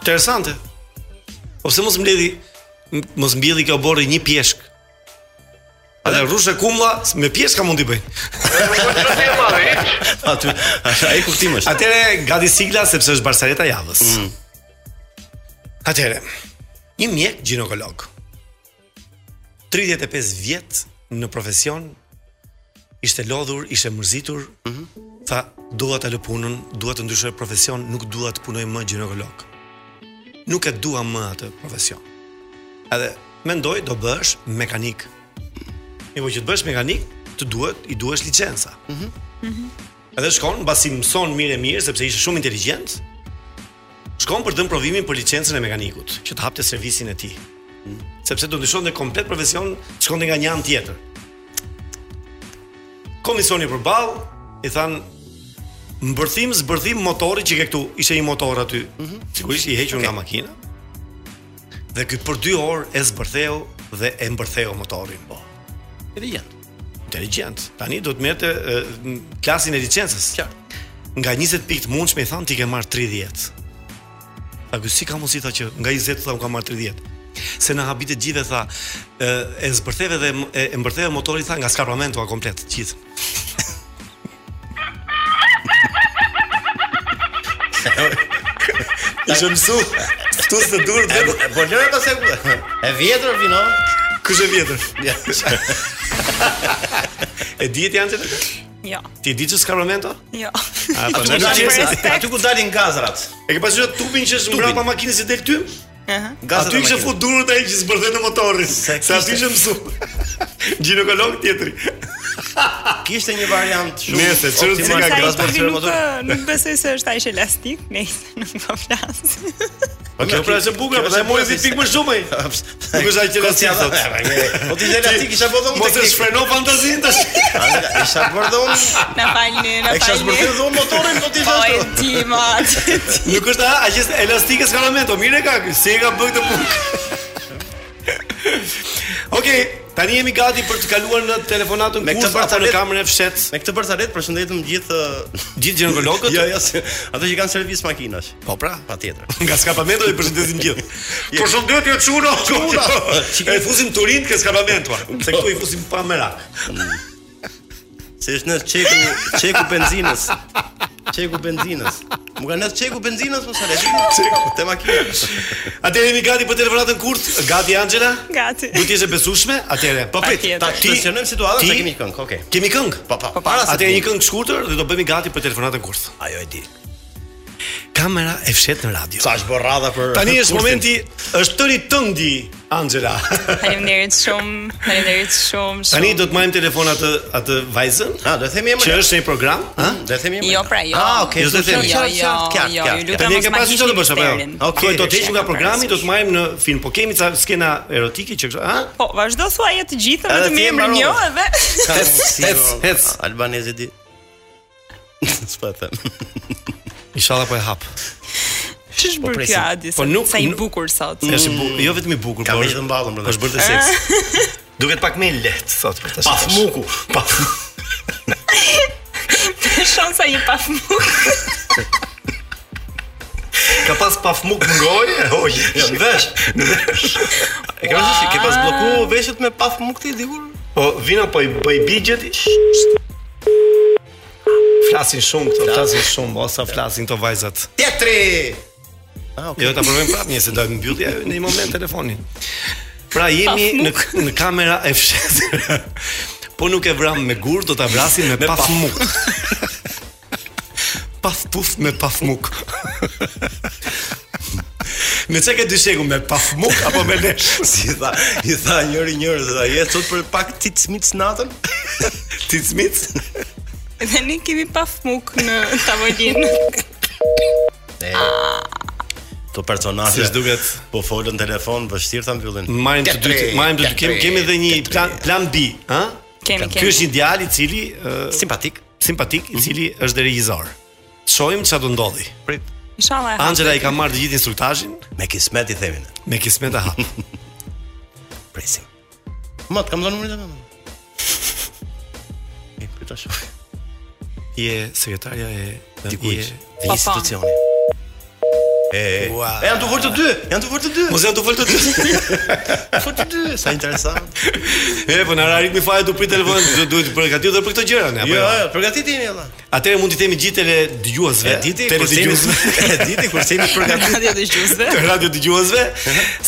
[SPEAKER 7] Interesante. Po pse mos mbledhi m- mos mbjelli kjo borri një pjeshk? Atë rrushë kumlla me pjeshka mund t'i bëjnë.
[SPEAKER 2] Aty ai kuptim është. Mm.
[SPEAKER 7] Atëre gati sigla sepse është Barsaleta e javës. Atëre. Një mjek ginekolog. 35 vjet në profesion ishte lodhur, ishte mërzitur.
[SPEAKER 2] Mhm.
[SPEAKER 7] Tha, dua ta lë punën, dua të ndryshoj profesion, nuk dua të punoj më ginekolog. Nuk e dua më atë profesion. Edhe mendoj do bësh mekanik. Mirë, po që të bësh mekanik, të duhet, i duhesh licenca. Mhm. Mhm. Edhe shkon, mbasi mëson mirë e mirë sepse ishte shumë inteligjent. Shkon për të dhënë provimin për licencën e mekanikut, që të hapte servisin e tij. Mhm. Sepse do ndryshonte komplet profesion, shkonte nga një anë tjetër. Komisioni përballë i than mbërthim, zbërthim motori që ke këtu, ishte një motor aty. Sigurisht i hequr nga makina. Dhe ky për 2 orë e zbërtheu dhe e mbërtheu motorin. Po
[SPEAKER 2] Inteligjent.
[SPEAKER 7] inteligjent. Tani do të merrte e, n- klasin e licencës.
[SPEAKER 2] Qartë.
[SPEAKER 7] Nga 20 pikë të mundshme i than ti ke marr 30. Tha ky si ka mundësi tha që nga 20 tha u ka marr 30. Se në habite gjithë tha e, e zbërtheve dhe m- e, e mbërtheve motorin tha nga skarpamento a komplet gjithë. Ishë mësu, këtu së durë dhe
[SPEAKER 2] Po lëre pas e E vjetër vino.
[SPEAKER 7] kështë e vjetër. E dihet janë të
[SPEAKER 9] Jo.
[SPEAKER 7] Ti di që skarpamento?
[SPEAKER 9] Jo.
[SPEAKER 7] A, po, në
[SPEAKER 2] Aty ku dalin
[SPEAKER 7] licenca.
[SPEAKER 9] respekt.
[SPEAKER 2] aty ku dalin gazrat.
[SPEAKER 7] E ke pasur tupin që është mbrapa makinës që del ty?
[SPEAKER 2] Gazrat.
[SPEAKER 7] Aty
[SPEAKER 2] e
[SPEAKER 7] kishe
[SPEAKER 2] makinës.
[SPEAKER 7] fut durën ai që zbërthet në motorin. Se
[SPEAKER 2] kishte.
[SPEAKER 7] aty ishte mësu. Gjinekolog tjetri.
[SPEAKER 2] Kishte një variant shumë.
[SPEAKER 7] Nëse, çfarë
[SPEAKER 2] optimal.
[SPEAKER 7] si ka
[SPEAKER 9] Sa i
[SPEAKER 7] gras për
[SPEAKER 9] përvi
[SPEAKER 7] syre
[SPEAKER 9] nuk,
[SPEAKER 7] motor?
[SPEAKER 9] nuk besoj se është aq elastik, nejse, nuk po flas.
[SPEAKER 7] Po kjo pra është e bukur,
[SPEAKER 2] Kjo
[SPEAKER 7] pastaj
[SPEAKER 2] është
[SPEAKER 7] mori
[SPEAKER 2] e
[SPEAKER 7] si pikë më shumë ai. Nuk është aq
[SPEAKER 2] Koci
[SPEAKER 7] elastik.
[SPEAKER 2] atë-
[SPEAKER 7] thotë.
[SPEAKER 2] Po ti jela ti kisha bërë unë
[SPEAKER 7] Mos e
[SPEAKER 2] teknik.
[SPEAKER 7] shfreno fantazinë tash.
[SPEAKER 2] Anga, Isha bërë dhe unë.
[SPEAKER 9] Na falni, na
[SPEAKER 2] E kisha
[SPEAKER 9] falni.
[SPEAKER 2] zbërthyer dhe unë motorin, po ti
[SPEAKER 9] Po
[SPEAKER 2] ashtu.
[SPEAKER 9] e di, ma, atë.
[SPEAKER 7] Nuk është a- aq është elastike skalamento. Mirë e ka, ky, si e ka bërë këtë punë? Okej, tani jemi gati për të kaluar në telefonatën
[SPEAKER 2] Me këtë
[SPEAKER 7] kurth apo në
[SPEAKER 2] bartalet-
[SPEAKER 7] kamerën e fshet.
[SPEAKER 2] Me këtë bërtalet përshëndetëm gjithë
[SPEAKER 7] Gjithë gjinekologët?
[SPEAKER 2] Jo, jo, se- ato që kanë servis makinash.
[SPEAKER 7] Po pra.
[SPEAKER 2] Patjetër.
[SPEAKER 7] Nga skapamento i përshëndesim gjithë. Përshëndetje jo Çuno. Çuno. E fusim Turin ke skapamento. ah. Se këtu i fusim pa merak.
[SPEAKER 2] Se është në çeku, çeku benzinës. Çeku benzinës. Më kanë dhënë çeku benzinës mos e le. Çeku te makinës.
[SPEAKER 7] Atëherë jemi gati për telefonatën kurt. Gati Angela?
[SPEAKER 9] Gati.
[SPEAKER 7] Do të jesh e besueshme? Atëherë. Po prit.
[SPEAKER 9] Patjetër.
[SPEAKER 2] Ta
[SPEAKER 7] Ti-
[SPEAKER 2] tensionojmë situatën se
[SPEAKER 7] ti-
[SPEAKER 2] kemi këngë. Okej.
[SPEAKER 7] Kemi këngë.
[SPEAKER 2] Po, po.
[SPEAKER 7] Po,
[SPEAKER 2] Para se
[SPEAKER 7] Atëherë
[SPEAKER 2] të
[SPEAKER 7] një këngë të shkurtër dhe do bëhemi gati për telefonatën kurt.
[SPEAKER 2] Ajo e di.
[SPEAKER 7] Kamera e fshet në radio.
[SPEAKER 2] Sa është bërë radha për
[SPEAKER 7] Tani është
[SPEAKER 2] kursin.
[SPEAKER 7] momenti, është tëri tëndi Angela.
[SPEAKER 9] Faleminderit shumë, faleminderit shumë, shumë.
[SPEAKER 7] Tani do të marrim telefon atë atë vajzën
[SPEAKER 2] Ah, do të themi emrin.
[SPEAKER 7] që është në një program, ha?
[SPEAKER 2] Do të themi emrin.
[SPEAKER 9] Jo, pra, jo.
[SPEAKER 2] Ah, okay.
[SPEAKER 7] Jo, s'do themi.
[SPEAKER 9] Jo, jo, jo, ju lutem.
[SPEAKER 7] Tani e ke
[SPEAKER 9] mos ma
[SPEAKER 7] pasur
[SPEAKER 9] hiqni
[SPEAKER 7] çfarë do bësh apo jo?
[SPEAKER 9] misterin.
[SPEAKER 7] Okej, do të heqim nga
[SPEAKER 9] Shaka,
[SPEAKER 7] programi, do
[SPEAKER 9] parasysh.
[SPEAKER 7] të marrim në film, po kemi ca skena erotike që kështu, ha?
[SPEAKER 9] Po, vazhdo thua jetë gjithë,
[SPEAKER 2] Edhe
[SPEAKER 9] vetëm
[SPEAKER 2] ti e
[SPEAKER 9] emrin
[SPEAKER 2] mbarove.
[SPEAKER 9] jo edhe.
[SPEAKER 2] Hec,
[SPEAKER 7] hec, hec.
[SPEAKER 2] Albanezi di. S'po e them.
[SPEAKER 7] Inshallah po e hap.
[SPEAKER 9] Ç'është bërë
[SPEAKER 2] presim.
[SPEAKER 9] kjo Adi?
[SPEAKER 7] Po
[SPEAKER 9] Po
[SPEAKER 7] nuk-
[SPEAKER 9] nuk sa i
[SPEAKER 7] nuk-
[SPEAKER 9] bukur sot.
[SPEAKER 7] Është i bukur, jo vetëm i bukur,
[SPEAKER 2] Ka
[SPEAKER 7] po
[SPEAKER 2] vetë
[SPEAKER 7] është-
[SPEAKER 2] të mballëm brenda.
[SPEAKER 7] po është bërë të seks. Eh? Duket pak më i lehtë sot për ta
[SPEAKER 2] Pa fmuku.
[SPEAKER 7] Pa.
[SPEAKER 9] Shon sa i pafmuk.
[SPEAKER 7] Ka pas pa fmuk në gojë, e hoqë.
[SPEAKER 2] Jo, në vesh.
[SPEAKER 7] Në vesh.
[SPEAKER 2] E ke vështirë, ke pas blloku veshët me pa fmuk ti dikur?
[SPEAKER 7] Po vino po i bëj bigjet. Flasin shumë këto, flasin shumë, o sa flasin këto vajzat.
[SPEAKER 2] Tetri. Ah, okay.
[SPEAKER 7] Jo, ta provojmë prapë një se do të mbyllja në një moment telefonin. Pra jemi në në kamera e fshetë. po nuk e vram me gur, do ta vrasim me, paf muk. paf puf me paf muk. me çka ke dysheku me paf muk apo me lesh?
[SPEAKER 2] Si tha, i tha njëri njërës, tha, je sot për pak ticmic natën?
[SPEAKER 7] Ticmic?
[SPEAKER 9] Dhe ne kemi pafmuk në tavolinë.
[SPEAKER 2] Të personazhe.
[SPEAKER 7] Si Mm. s'duket.
[SPEAKER 2] Po folën telefon, vështirë ta mbyllin.
[SPEAKER 7] Marrim të dy,
[SPEAKER 2] Katri,
[SPEAKER 7] marrim të dy, kemi
[SPEAKER 2] katri,
[SPEAKER 7] kemi edhe një
[SPEAKER 2] katri.
[SPEAKER 7] plan plan B, ha?
[SPEAKER 9] Kemi,
[SPEAKER 7] Ky
[SPEAKER 9] kemi.
[SPEAKER 7] është një djalë i cili ë,
[SPEAKER 2] Simpatik.
[SPEAKER 7] simpatik, i cili është dhe regjisor. Shohim çfarë do ndodhi.
[SPEAKER 2] Prit.
[SPEAKER 9] Inshallah. e hap.
[SPEAKER 7] Angela i ka marrë të gjithë instruktazhin
[SPEAKER 2] Me kismet i themin.
[SPEAKER 7] me kismet e hap.
[SPEAKER 2] Presim. Ma të kam dhënë numrin tënd. E pyeta shumë.
[SPEAKER 7] je sekretarja e
[SPEAKER 2] Dikujt.
[SPEAKER 7] je-
[SPEAKER 2] E një institucioni. E,
[SPEAKER 7] Ua.
[SPEAKER 2] e janë të vërë të dy, janë të vërë të dy.
[SPEAKER 7] Mos janë të folë të dy.
[SPEAKER 2] Vërë të dy, sa interesant.
[SPEAKER 7] E po na ra ritmi fare tu prit telefonin, do duhet të përgatitur edhe për këto gjëra ne apo.
[SPEAKER 2] Jo,
[SPEAKER 7] Jo,
[SPEAKER 2] jo, përgatiti jemi valla.
[SPEAKER 7] Atëherë mund t'i themi gjithë tele dëgjuesve,
[SPEAKER 2] E diti
[SPEAKER 7] tele
[SPEAKER 2] kursimi,
[SPEAKER 7] dëgjuesve,
[SPEAKER 2] e diti kursimi përgatiti.
[SPEAKER 9] Radio të gjysë.
[SPEAKER 7] radio dëgjuesve,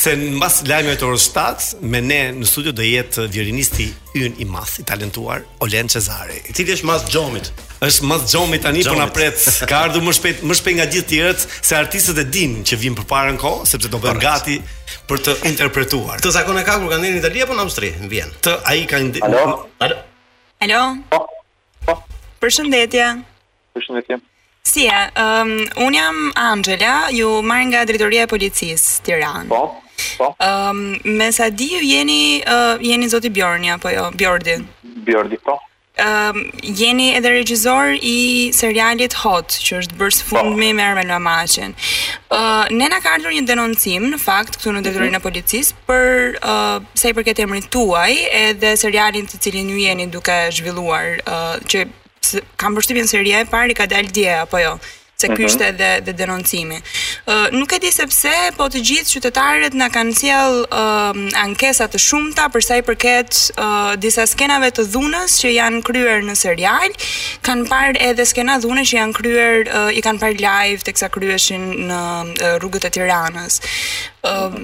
[SPEAKER 7] se mbas lajmeve të orës 7 me ne në studio do jetë violinisti ynë i madh, i talentuar Olen Cezari.
[SPEAKER 2] I cili është mas xhomit.
[SPEAKER 7] Është më xhomi tani po na
[SPEAKER 2] Xhomit.
[SPEAKER 7] pret. Ka ardhur më shpejt, më shpejt nga gjithë tjerët se artistët e dinë që vijnë përpara në kohë, sepse do bëhen
[SPEAKER 2] Korrekt.
[SPEAKER 7] gati për të interpretuar.
[SPEAKER 2] Këtë zakon e ka kur kanë dhënë në Itali apo në Austri, në Vjenë.
[SPEAKER 7] Të ai ka indi...
[SPEAKER 6] Alo?
[SPEAKER 2] Alo.
[SPEAKER 9] Alo? Po. Përshëndetje.
[SPEAKER 10] Përshëndetje.
[SPEAKER 9] Si e? Um, unë jam Angela, ju marr nga Drejtoria e Policisë Tiranë. Po. Po. Um, me sa di ju jeni uh, jeni zoti Bjorni apo jo? Bjordi.
[SPEAKER 10] Bjordi, po.
[SPEAKER 9] Um, jeni edhe regjisor i serialit Hot, që është bërë së fundmi me Armen Mamaqen. Uh, ne na ka ardhur një denoncim në fakt këtu në detyrinë e policisë për uh, sa i përket emrit tuaj edhe serialin të cilin ju jeni duke zhvilluar, uh, që s- kam përshtypjen se rje e parë i ka dalë dje apo jo se ky
[SPEAKER 10] Mhm.
[SPEAKER 9] ishte edhe dhe denoncimi. Uh, nuk e di se pse, po të gjithë qytetarët na kanë sjell uh, ankesa të shumta për sa i përket uh, disa skenave të dhunës që janë kryer në serial, kanë parë edhe skena dhune që janë kryer uh, i kanë parë live teksa kryeshin në uh, rrugët e Tiranës. Uh,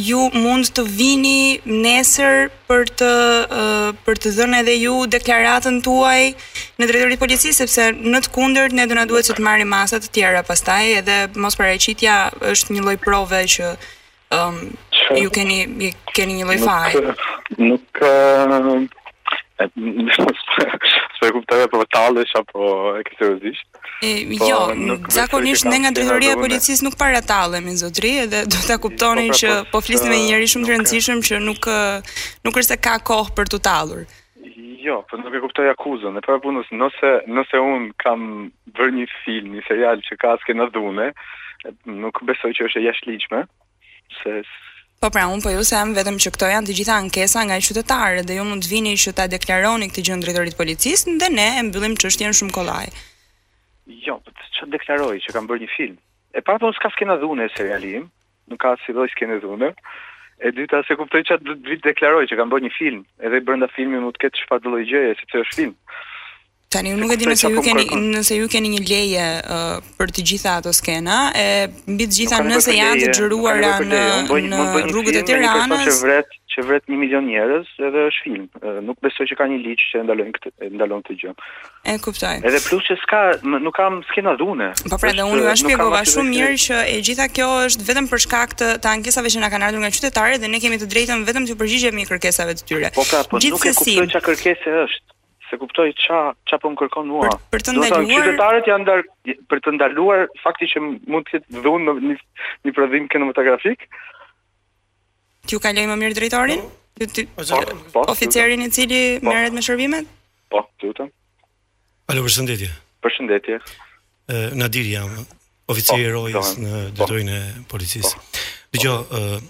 [SPEAKER 9] ju mund të vini nesër për të uh, për të dhënë edhe ju deklaratën tuaj në drejtori të policisë sepse në të kundërt ne do na duhet që të marrim masa të tjera pastaj edhe mos paraqitja është një lloj prove që um, ju keni ju keni një lloj faje.
[SPEAKER 10] Nuk... ë, e, Së e kuptoj apo tallesh apo e ke seriozisht.
[SPEAKER 9] E,
[SPEAKER 10] Po,
[SPEAKER 9] jo,
[SPEAKER 10] nuk besoj
[SPEAKER 9] zakonisht
[SPEAKER 10] që
[SPEAKER 9] ne
[SPEAKER 10] kam
[SPEAKER 9] nga
[SPEAKER 10] qenë
[SPEAKER 9] drejtoria e
[SPEAKER 10] ardhune.
[SPEAKER 9] policisë nuk paratallemi zotri, edhe do ta kuptonin
[SPEAKER 10] Po, pra,
[SPEAKER 9] që
[SPEAKER 10] po,
[SPEAKER 9] po flisni me një njerëz shumë
[SPEAKER 10] nuk
[SPEAKER 9] të
[SPEAKER 10] e-
[SPEAKER 9] rëndësishëm që nuk ë, nuk është se ka kohë për t'u tallur.
[SPEAKER 10] Jo, po nuk e kuptoj akuzën. E para punës, nëse nëse un kam bërë një film, një serial që ka aske në dhune, nuk besoj që është e jashtëligjshme, se
[SPEAKER 9] Po pra, unë po ju them vetëm që këto janë të gjitha ankesa nga qytetarët dhe ju mund të vini që ta deklaroni këtë gjë në drejtoritë të policisë dhe ne e mbyllim çështjen shumë kollaj.
[SPEAKER 10] jo, po të- çfarë deklaroj që kam bërë një film. E para po punës ka skena dhune e seriali im, nuk ka si lloj skene dhune. E dyta se kuptoj çfarë do të deklaroj që kam bërë një film, edhe brenda filmit mund të ketë çfarë lloj gjëje, sepse është film.
[SPEAKER 9] Tani unë nuk e di
[SPEAKER 10] Këtë
[SPEAKER 9] nëse
[SPEAKER 10] qa
[SPEAKER 9] ju
[SPEAKER 10] po më
[SPEAKER 9] keni
[SPEAKER 10] kërkon?
[SPEAKER 9] nëse ju keni një leje uh, për të gjitha ato skena, e mbi të gjitha
[SPEAKER 10] Nuk ka nevojë
[SPEAKER 9] nëse
[SPEAKER 10] për
[SPEAKER 9] janë të
[SPEAKER 10] leje,
[SPEAKER 9] xhiruara
[SPEAKER 10] nuk ka nevojë për
[SPEAKER 9] në
[SPEAKER 10] leje. Unë bëj-
[SPEAKER 9] në
[SPEAKER 10] unë bëj një
[SPEAKER 9] rrugët e
[SPEAKER 10] film me një person
[SPEAKER 9] Tiranës.
[SPEAKER 10] që vret që vret 1 milion njerëz edhe është film. Ë, Nuk besoj që ka një ligj që e ndalojnë këtë e ndalon këtë gjë.
[SPEAKER 9] E kuptoj.
[SPEAKER 10] Edhe plus që s'ka m- nuk kam skena dhune.
[SPEAKER 9] Po pra dhe
[SPEAKER 10] Është-
[SPEAKER 9] unë ju e
[SPEAKER 10] nuk kam
[SPEAKER 9] shpjegova
[SPEAKER 10] aty
[SPEAKER 9] shumë
[SPEAKER 10] dhe-
[SPEAKER 9] mirë që e gjitha kjo është vetëm për shkak të, të ankesave që na kanë ardhur nga qytetarët dhe ne kemi të drejtën vetëm të përgjigjemi kërkesave të tyre.
[SPEAKER 10] Po pra, po nuk e
[SPEAKER 9] Gjithsesi-
[SPEAKER 10] kuptoj çka kërkesë është. Se kuptoj ça ça po më kërkon mua.
[SPEAKER 9] për të
[SPEAKER 10] Do thonë,
[SPEAKER 9] ndaluar-
[SPEAKER 10] qytetarët janë ndar për të ndaluar fakti që m- mund të jetë dhunë në një, një prodhim kinematografik.
[SPEAKER 9] T'ju kaloj më mirë drejtorin? Ty, ty,
[SPEAKER 10] po,
[SPEAKER 9] oficerin i cili merret me shërbimet?
[SPEAKER 10] Po, lutem.
[SPEAKER 7] Alo, përshëndetje.
[SPEAKER 10] Përshëndetje.
[SPEAKER 7] Ë, Nadir jam, oficer i
[SPEAKER 10] Po,
[SPEAKER 7] rojës
[SPEAKER 10] Zoran.
[SPEAKER 7] në detojnë e policisë. Dëgjoj, ë,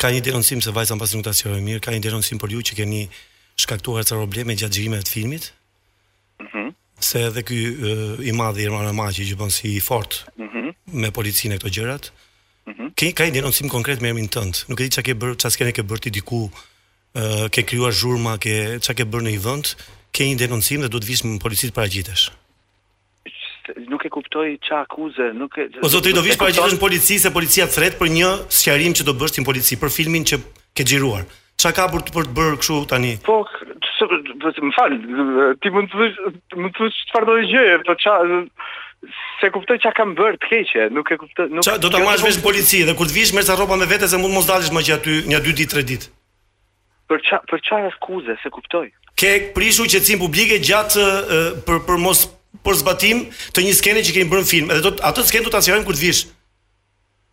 [SPEAKER 7] ka një denoncim se vajza mbas nuk ta sjellë mirë, ka një denoncim për ju që keni shkaktuar ca probleme gjatë xhirimeve të filmit.
[SPEAKER 10] Mhm.
[SPEAKER 7] Se edhe ky ë, i madhi Erman Amaqi që bën si i fort
[SPEAKER 10] Mhm.
[SPEAKER 7] me policinë e këto gjërat. Ke ka një denoncim konkret me emrin tënd. Nuk e di çka ke bërë, çfarë skene ke bërë ti diku, ë ke krijuar zhurma, ke çka ke bërë në një vend, ke një denoncim dhe duhet vish në polici të paragjitesh.
[SPEAKER 10] Nuk e kuptoj ça akuze, nuk e
[SPEAKER 7] O po zotri do vish
[SPEAKER 10] E
[SPEAKER 7] para
[SPEAKER 10] kupton?
[SPEAKER 7] gjithë në polici se policia thret për një sqarim që do bësh ti në polici për filmin që ke xhiruar. Çka ka për të për të bërë kështu tani?
[SPEAKER 10] Po, s- s- më fal, ti mund të thuash mund të thuash çfarë do gjëje, po ça se kuptoj çka kam bërë të keqe, nuk e kuptoj, nuk Jo,
[SPEAKER 7] Çka do ta
[SPEAKER 10] po-
[SPEAKER 7] marrësh vesh në polici dhe kur të vish merr ca rroba me vete se mund mos dalësh më që aty një 2 ditë 3 ditë.
[SPEAKER 10] Për ça për çfarë akuze, se kuptoj.
[SPEAKER 7] Ke prishu qetësinë publike gjatë e, për për mos për zbatim të një skene që keni bërë në film. Edhe do t- atë skenë do ta sqarojmë kur të vish.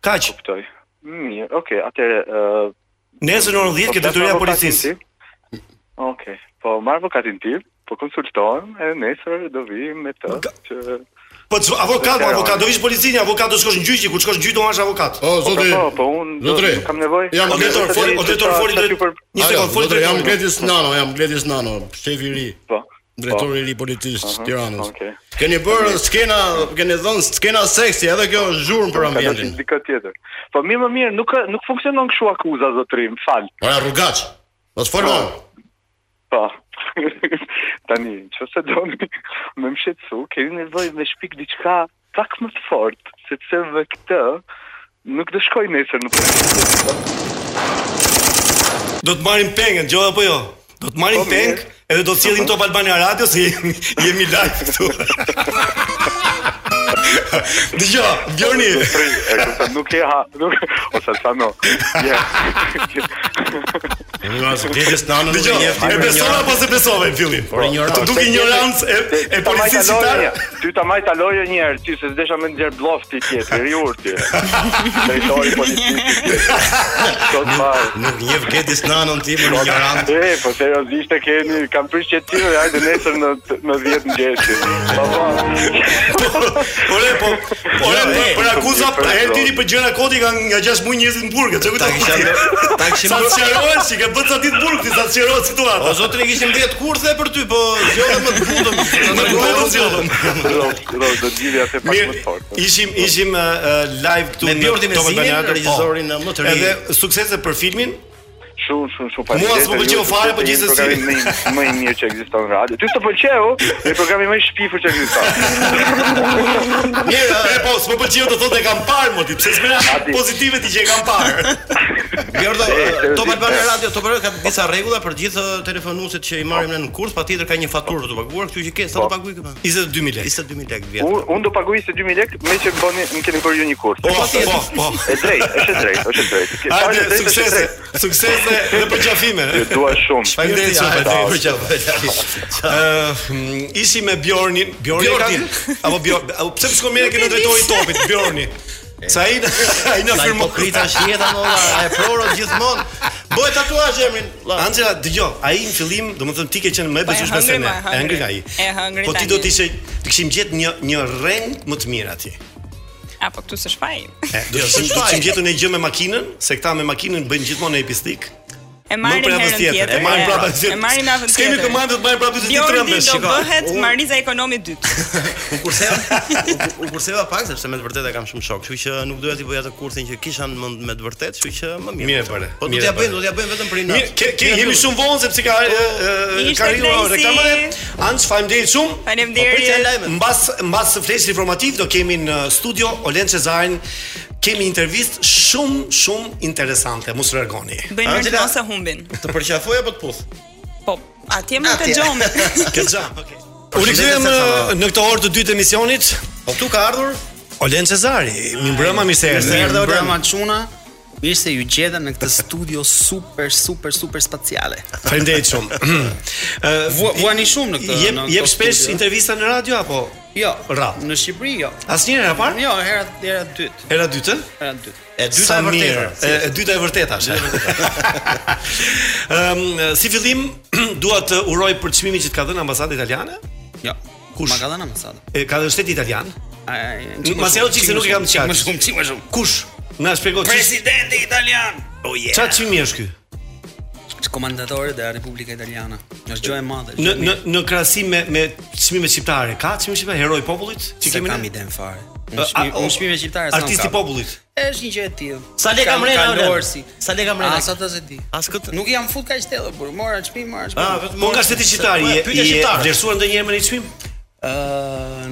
[SPEAKER 7] Kaq.
[SPEAKER 10] Kuptoj. Mirë, okay, atëre ë
[SPEAKER 7] Nesër në orën 10 ke
[SPEAKER 10] po flas
[SPEAKER 7] detyria
[SPEAKER 10] me
[SPEAKER 7] e
[SPEAKER 10] avokatin
[SPEAKER 7] policisë.
[SPEAKER 10] tim. Okej, po marr avokatin tim, po konsultohem e nesër do vi me të që
[SPEAKER 7] Po c- avokat, po avokat, do vish në polici, një avokat do shkosh në gjyqi, kur shkosh në gjyq do marrësh avokat. O
[SPEAKER 10] Po, zotri, po, po, unë do- zotri, nuk kam nevojë. jam
[SPEAKER 7] O drejtor,
[SPEAKER 10] gati.
[SPEAKER 7] foli, o drejtor
[SPEAKER 10] Sa-
[SPEAKER 7] foli
[SPEAKER 10] sa
[SPEAKER 7] drejt.
[SPEAKER 10] ju për-
[SPEAKER 7] Një sekond, foli
[SPEAKER 2] drejtori. Jam
[SPEAKER 7] drejtori.
[SPEAKER 2] Gledis Nano, jam Gledis Nano, shefi i ri.
[SPEAKER 10] Po.
[SPEAKER 2] Drejtori i ri policisë
[SPEAKER 10] Aha,
[SPEAKER 2] Tiranës.
[SPEAKER 10] okej.
[SPEAKER 2] Keni bërë skena, keni dhënë skena seksi, edhe kjo është zhurmë për
[SPEAKER 10] Ka
[SPEAKER 2] ambientin.
[SPEAKER 10] dalë diçka tjetër. Po mirë, më mirë, nuk nuk funksionon kështu akuza zotrim, fal.
[SPEAKER 2] Ora rrugaç. Mos fol më.
[SPEAKER 10] Po. Tani, nëse doni më mshetsu, keni nevojë me shpik diçka pak më të fortë, sepse me këtë nuk do shkoj nesër në punë.
[SPEAKER 7] Do të marrim pengën, gjo apo jo? Do të marrim
[SPEAKER 10] Po, mirë.
[SPEAKER 7] pengë edhe do të sjellim Top Albania Radio se jemi, jemi live këtu.
[SPEAKER 2] Dgjoj, Bjorni.
[SPEAKER 10] E kuptoj, nuk e ha, nuk ose sa no. Ja.
[SPEAKER 2] Mos gjetes në anën
[SPEAKER 7] Dgjoj, e besova apo se besova në fillim?
[SPEAKER 10] Por ignorant.
[SPEAKER 7] Të duk ignorancë e, e policisë shqiptare.
[SPEAKER 10] Ty ta majta loje një herë, ty se s'desha më nxjer bllofti ti tjetër, i urti. Drejtori i policisë. Sot fare.
[SPEAKER 2] Nuk njeh gjetes në anën tim, por ignorant.
[SPEAKER 10] E, po seriozisht e keni, kam prish që ti, hajde nesër në në 10 ngjeshi. Po po.
[SPEAKER 7] Ore, po, ore, për, për akuza herë tiri për gjëra koti ka nga 6 muaj njerëzit në burg, çka kujto. Ta kisha
[SPEAKER 2] ta kishim-
[SPEAKER 7] Sa të qerohesh, që ke bërë sa ditë burg, ti sa të qerohet situata.
[SPEAKER 2] O zotri kishim 10 kurthe për ty, po zgjodhem më të fundëm.
[SPEAKER 7] Më të fundëm zgjodhem.
[SPEAKER 10] Do do gjivja se pak më fort.
[SPEAKER 7] Ishim ishim uh, uh, live këtu
[SPEAKER 2] Me Bjordi
[SPEAKER 7] Top
[SPEAKER 2] Mezinin,
[SPEAKER 7] Albania Radio,
[SPEAKER 2] regjisorin,
[SPEAKER 7] po.
[SPEAKER 2] më të ri.
[SPEAKER 7] Edhe suksese për filmin.
[SPEAKER 10] Shumë shumë shumë
[SPEAKER 7] Mua s'më pëlqeu fare, po gjithsesi.
[SPEAKER 10] Më i mirë që ekziston në radio. Ty të pëlqeu, e programi më i shpifur që ekziston.
[SPEAKER 7] Mirë, e po, s'më pëlqeu të thotë e kam parë mo ti, pse s'mëra
[SPEAKER 10] Ati.
[SPEAKER 7] pozitive ti që e kam parë.
[SPEAKER 2] Bjordo,
[SPEAKER 7] E, seriozisht,
[SPEAKER 2] Top
[SPEAKER 7] e.
[SPEAKER 2] Albania Radio, Top Albania ka disa rregulla për gjithë telefonuesit që i marrim ne në kurs, patjetër ka një faturë për të paguar, kështu që ke sa të paguaj këpa?
[SPEAKER 7] 22000 lekë.
[SPEAKER 2] 22000 lekë
[SPEAKER 10] Unë
[SPEAKER 2] vjet.
[SPEAKER 10] unë do paguaj se 2000 lekë me që bëni më keni bërë ju një kurs.
[SPEAKER 2] Po, po, po.
[SPEAKER 10] E drejtë, është e drejtë, është e drejtë. Ke
[SPEAKER 7] Hajde,
[SPEAKER 10] fare drejtë, është e
[SPEAKER 7] suksese,
[SPEAKER 10] drejtë.
[SPEAKER 7] suksese dhe përqafime.
[SPEAKER 10] Ju dua shumë.
[SPEAKER 7] Faleminderit shumë
[SPEAKER 10] Hajde,
[SPEAKER 7] Faleminderit.
[SPEAKER 10] hajde,
[SPEAKER 7] Ë, ishi me Bjornin, Bjorni
[SPEAKER 10] Bjornin.
[SPEAKER 7] ka- apo Bjorn, apo pse më shkon mirë që në drejtori i topit, Bjorni. Sa i ai na
[SPEAKER 2] Sa
[SPEAKER 7] firmo
[SPEAKER 2] hipokrita është jeta molla, e prorot gjithmonë. Bëj tatuazh emrin.
[SPEAKER 7] Angela, dëgjoj, ai në fillim, domethënë ti ke qenë më e
[SPEAKER 9] Po, e
[SPEAKER 7] besueshme se
[SPEAKER 9] hëngri,
[SPEAKER 7] ne.
[SPEAKER 9] ma, e
[SPEAKER 7] E ngri ai.
[SPEAKER 9] hëngri. E hëngri
[SPEAKER 7] Po ti
[SPEAKER 9] tani.
[SPEAKER 7] do të ishe të kishim gjetë një një rreng më të mirë atje.
[SPEAKER 9] Apo këtu së shfaj.
[SPEAKER 7] E, Do
[SPEAKER 2] jo,
[SPEAKER 7] të kishim do të kishim gjetur një gjë me makinën, se këta me makinën bëjnë gjithmonë në epistik.
[SPEAKER 9] E marrim
[SPEAKER 7] prapës
[SPEAKER 9] herën
[SPEAKER 7] tjetër, e
[SPEAKER 9] tjetër.
[SPEAKER 7] marrim prapës tjetër.
[SPEAKER 9] E marrim javën tjetër.
[SPEAKER 7] S'kemi komandë të marrim prapë të ditë
[SPEAKER 9] Bjordi
[SPEAKER 7] trembesh,
[SPEAKER 9] do
[SPEAKER 7] shiko.
[SPEAKER 9] bëhet
[SPEAKER 2] Unë-
[SPEAKER 9] Mariza ekonomi dytë.
[SPEAKER 2] U kurseva, u- u kurseva pak sepse me të vërtetë e kam shumë shok, kështu që nuk doja t'i bëj atë kursin që kisha në mend me të vërtetë, kështu që më mirë.
[SPEAKER 7] Mirë bëre,
[SPEAKER 2] Po do
[SPEAKER 7] mirë
[SPEAKER 2] t'ja
[SPEAKER 7] bëre.
[SPEAKER 2] bëjmë, do t'ja bëjmë vetëm për inat.
[SPEAKER 7] Mirë, ke, ke jemi shumë vonë sepse ka e, e,
[SPEAKER 9] Ishte
[SPEAKER 7] ka riu
[SPEAKER 9] Knajsi.
[SPEAKER 7] reklamat. Anç faleminderit shumë.
[SPEAKER 9] Faleminderit.
[SPEAKER 7] Po, pritet lajmet. Mbas mbas flesit informativ do kemi në studio Olen Cezarin. Kemi intervistë shumë shumë interesante, mos largoni.
[SPEAKER 9] Bëjnë
[SPEAKER 7] Angela,
[SPEAKER 9] Angela... se humbin.
[SPEAKER 2] Të përqafoj apo të puth?
[SPEAKER 9] Po, atje më të gjomë.
[SPEAKER 7] Ke xha. U rikthyem në- në këtë orë të dytë të emisionit.
[SPEAKER 2] Po tu ka ardhur
[SPEAKER 7] Olen Cezari, mi mbrëma mi se erdhe.
[SPEAKER 11] Mirë mbrëma çuna. Mirë se ju gjeda në këtë studio super super super spaciale.
[SPEAKER 7] Faleminderit shumë.
[SPEAKER 11] Vua- Vuani shumë në këtë.
[SPEAKER 7] Jep
[SPEAKER 11] në
[SPEAKER 7] jep
[SPEAKER 11] këto
[SPEAKER 7] shpesh
[SPEAKER 11] studio.
[SPEAKER 7] intervista në radio apo?
[SPEAKER 11] Jo,
[SPEAKER 7] Ra.
[SPEAKER 11] në Shqipëri jo.
[SPEAKER 7] Asnjëherë e parë?
[SPEAKER 11] Jo, hera hera dytë.
[SPEAKER 7] Era dytë?
[SPEAKER 11] Hera dytë.
[SPEAKER 2] E dyta e vërteta.
[SPEAKER 7] mirë, E, e dyta e vërteta është. Ëm si fillim dua të uroj për çmimin që të ka dhënë ambasada italiane.
[SPEAKER 11] Jo.
[SPEAKER 7] Kush?
[SPEAKER 11] Ma ka dhënë ambasadë.
[SPEAKER 7] E ka dhënë shteti italian.
[SPEAKER 11] Ai,
[SPEAKER 7] Masi ajo çik se nuk e kam qartë.
[SPEAKER 11] Më shumë, çik më shumë.
[SPEAKER 7] Kush? Na shpjegoj çik.
[SPEAKER 11] Presidenti italian. Oh yeah.
[SPEAKER 7] Çfarë çmimi është ky?
[SPEAKER 11] Komandatori dhe Republika Italiana. Është gjë e madhe.
[SPEAKER 7] Në në në krahasim me me çmimet shqiptare, ka çmim shqiptar heroj i popullit?
[SPEAKER 11] Çi
[SPEAKER 7] Që
[SPEAKER 11] kemi
[SPEAKER 7] kemi
[SPEAKER 11] kam
[SPEAKER 7] ne?
[SPEAKER 11] iden fare.
[SPEAKER 7] A,
[SPEAKER 11] Unë shpimi-
[SPEAKER 7] o,
[SPEAKER 11] Unë shpimi shqiptare s'kam
[SPEAKER 7] Artisti i
[SPEAKER 11] kap.
[SPEAKER 7] popullit.
[SPEAKER 11] Është një gjë e tillë.
[SPEAKER 2] Sa lekë
[SPEAKER 11] Kam-
[SPEAKER 2] mrena,
[SPEAKER 11] kam
[SPEAKER 2] Olen?
[SPEAKER 11] lorë si.
[SPEAKER 2] Sa lekë mrena?
[SPEAKER 11] A sa të se di.
[SPEAKER 2] As këtë.
[SPEAKER 11] Nuk jam fut kaq tellë burr. Mora çmim, mora çmim.
[SPEAKER 2] Ah, vetëm
[SPEAKER 7] Po nga shteti shqiptar,
[SPEAKER 11] Po,
[SPEAKER 7] je
[SPEAKER 11] pyetje
[SPEAKER 7] je
[SPEAKER 11] shqiptare.
[SPEAKER 7] vlerësuar ndonjëherë me një çmim?
[SPEAKER 11] Ë,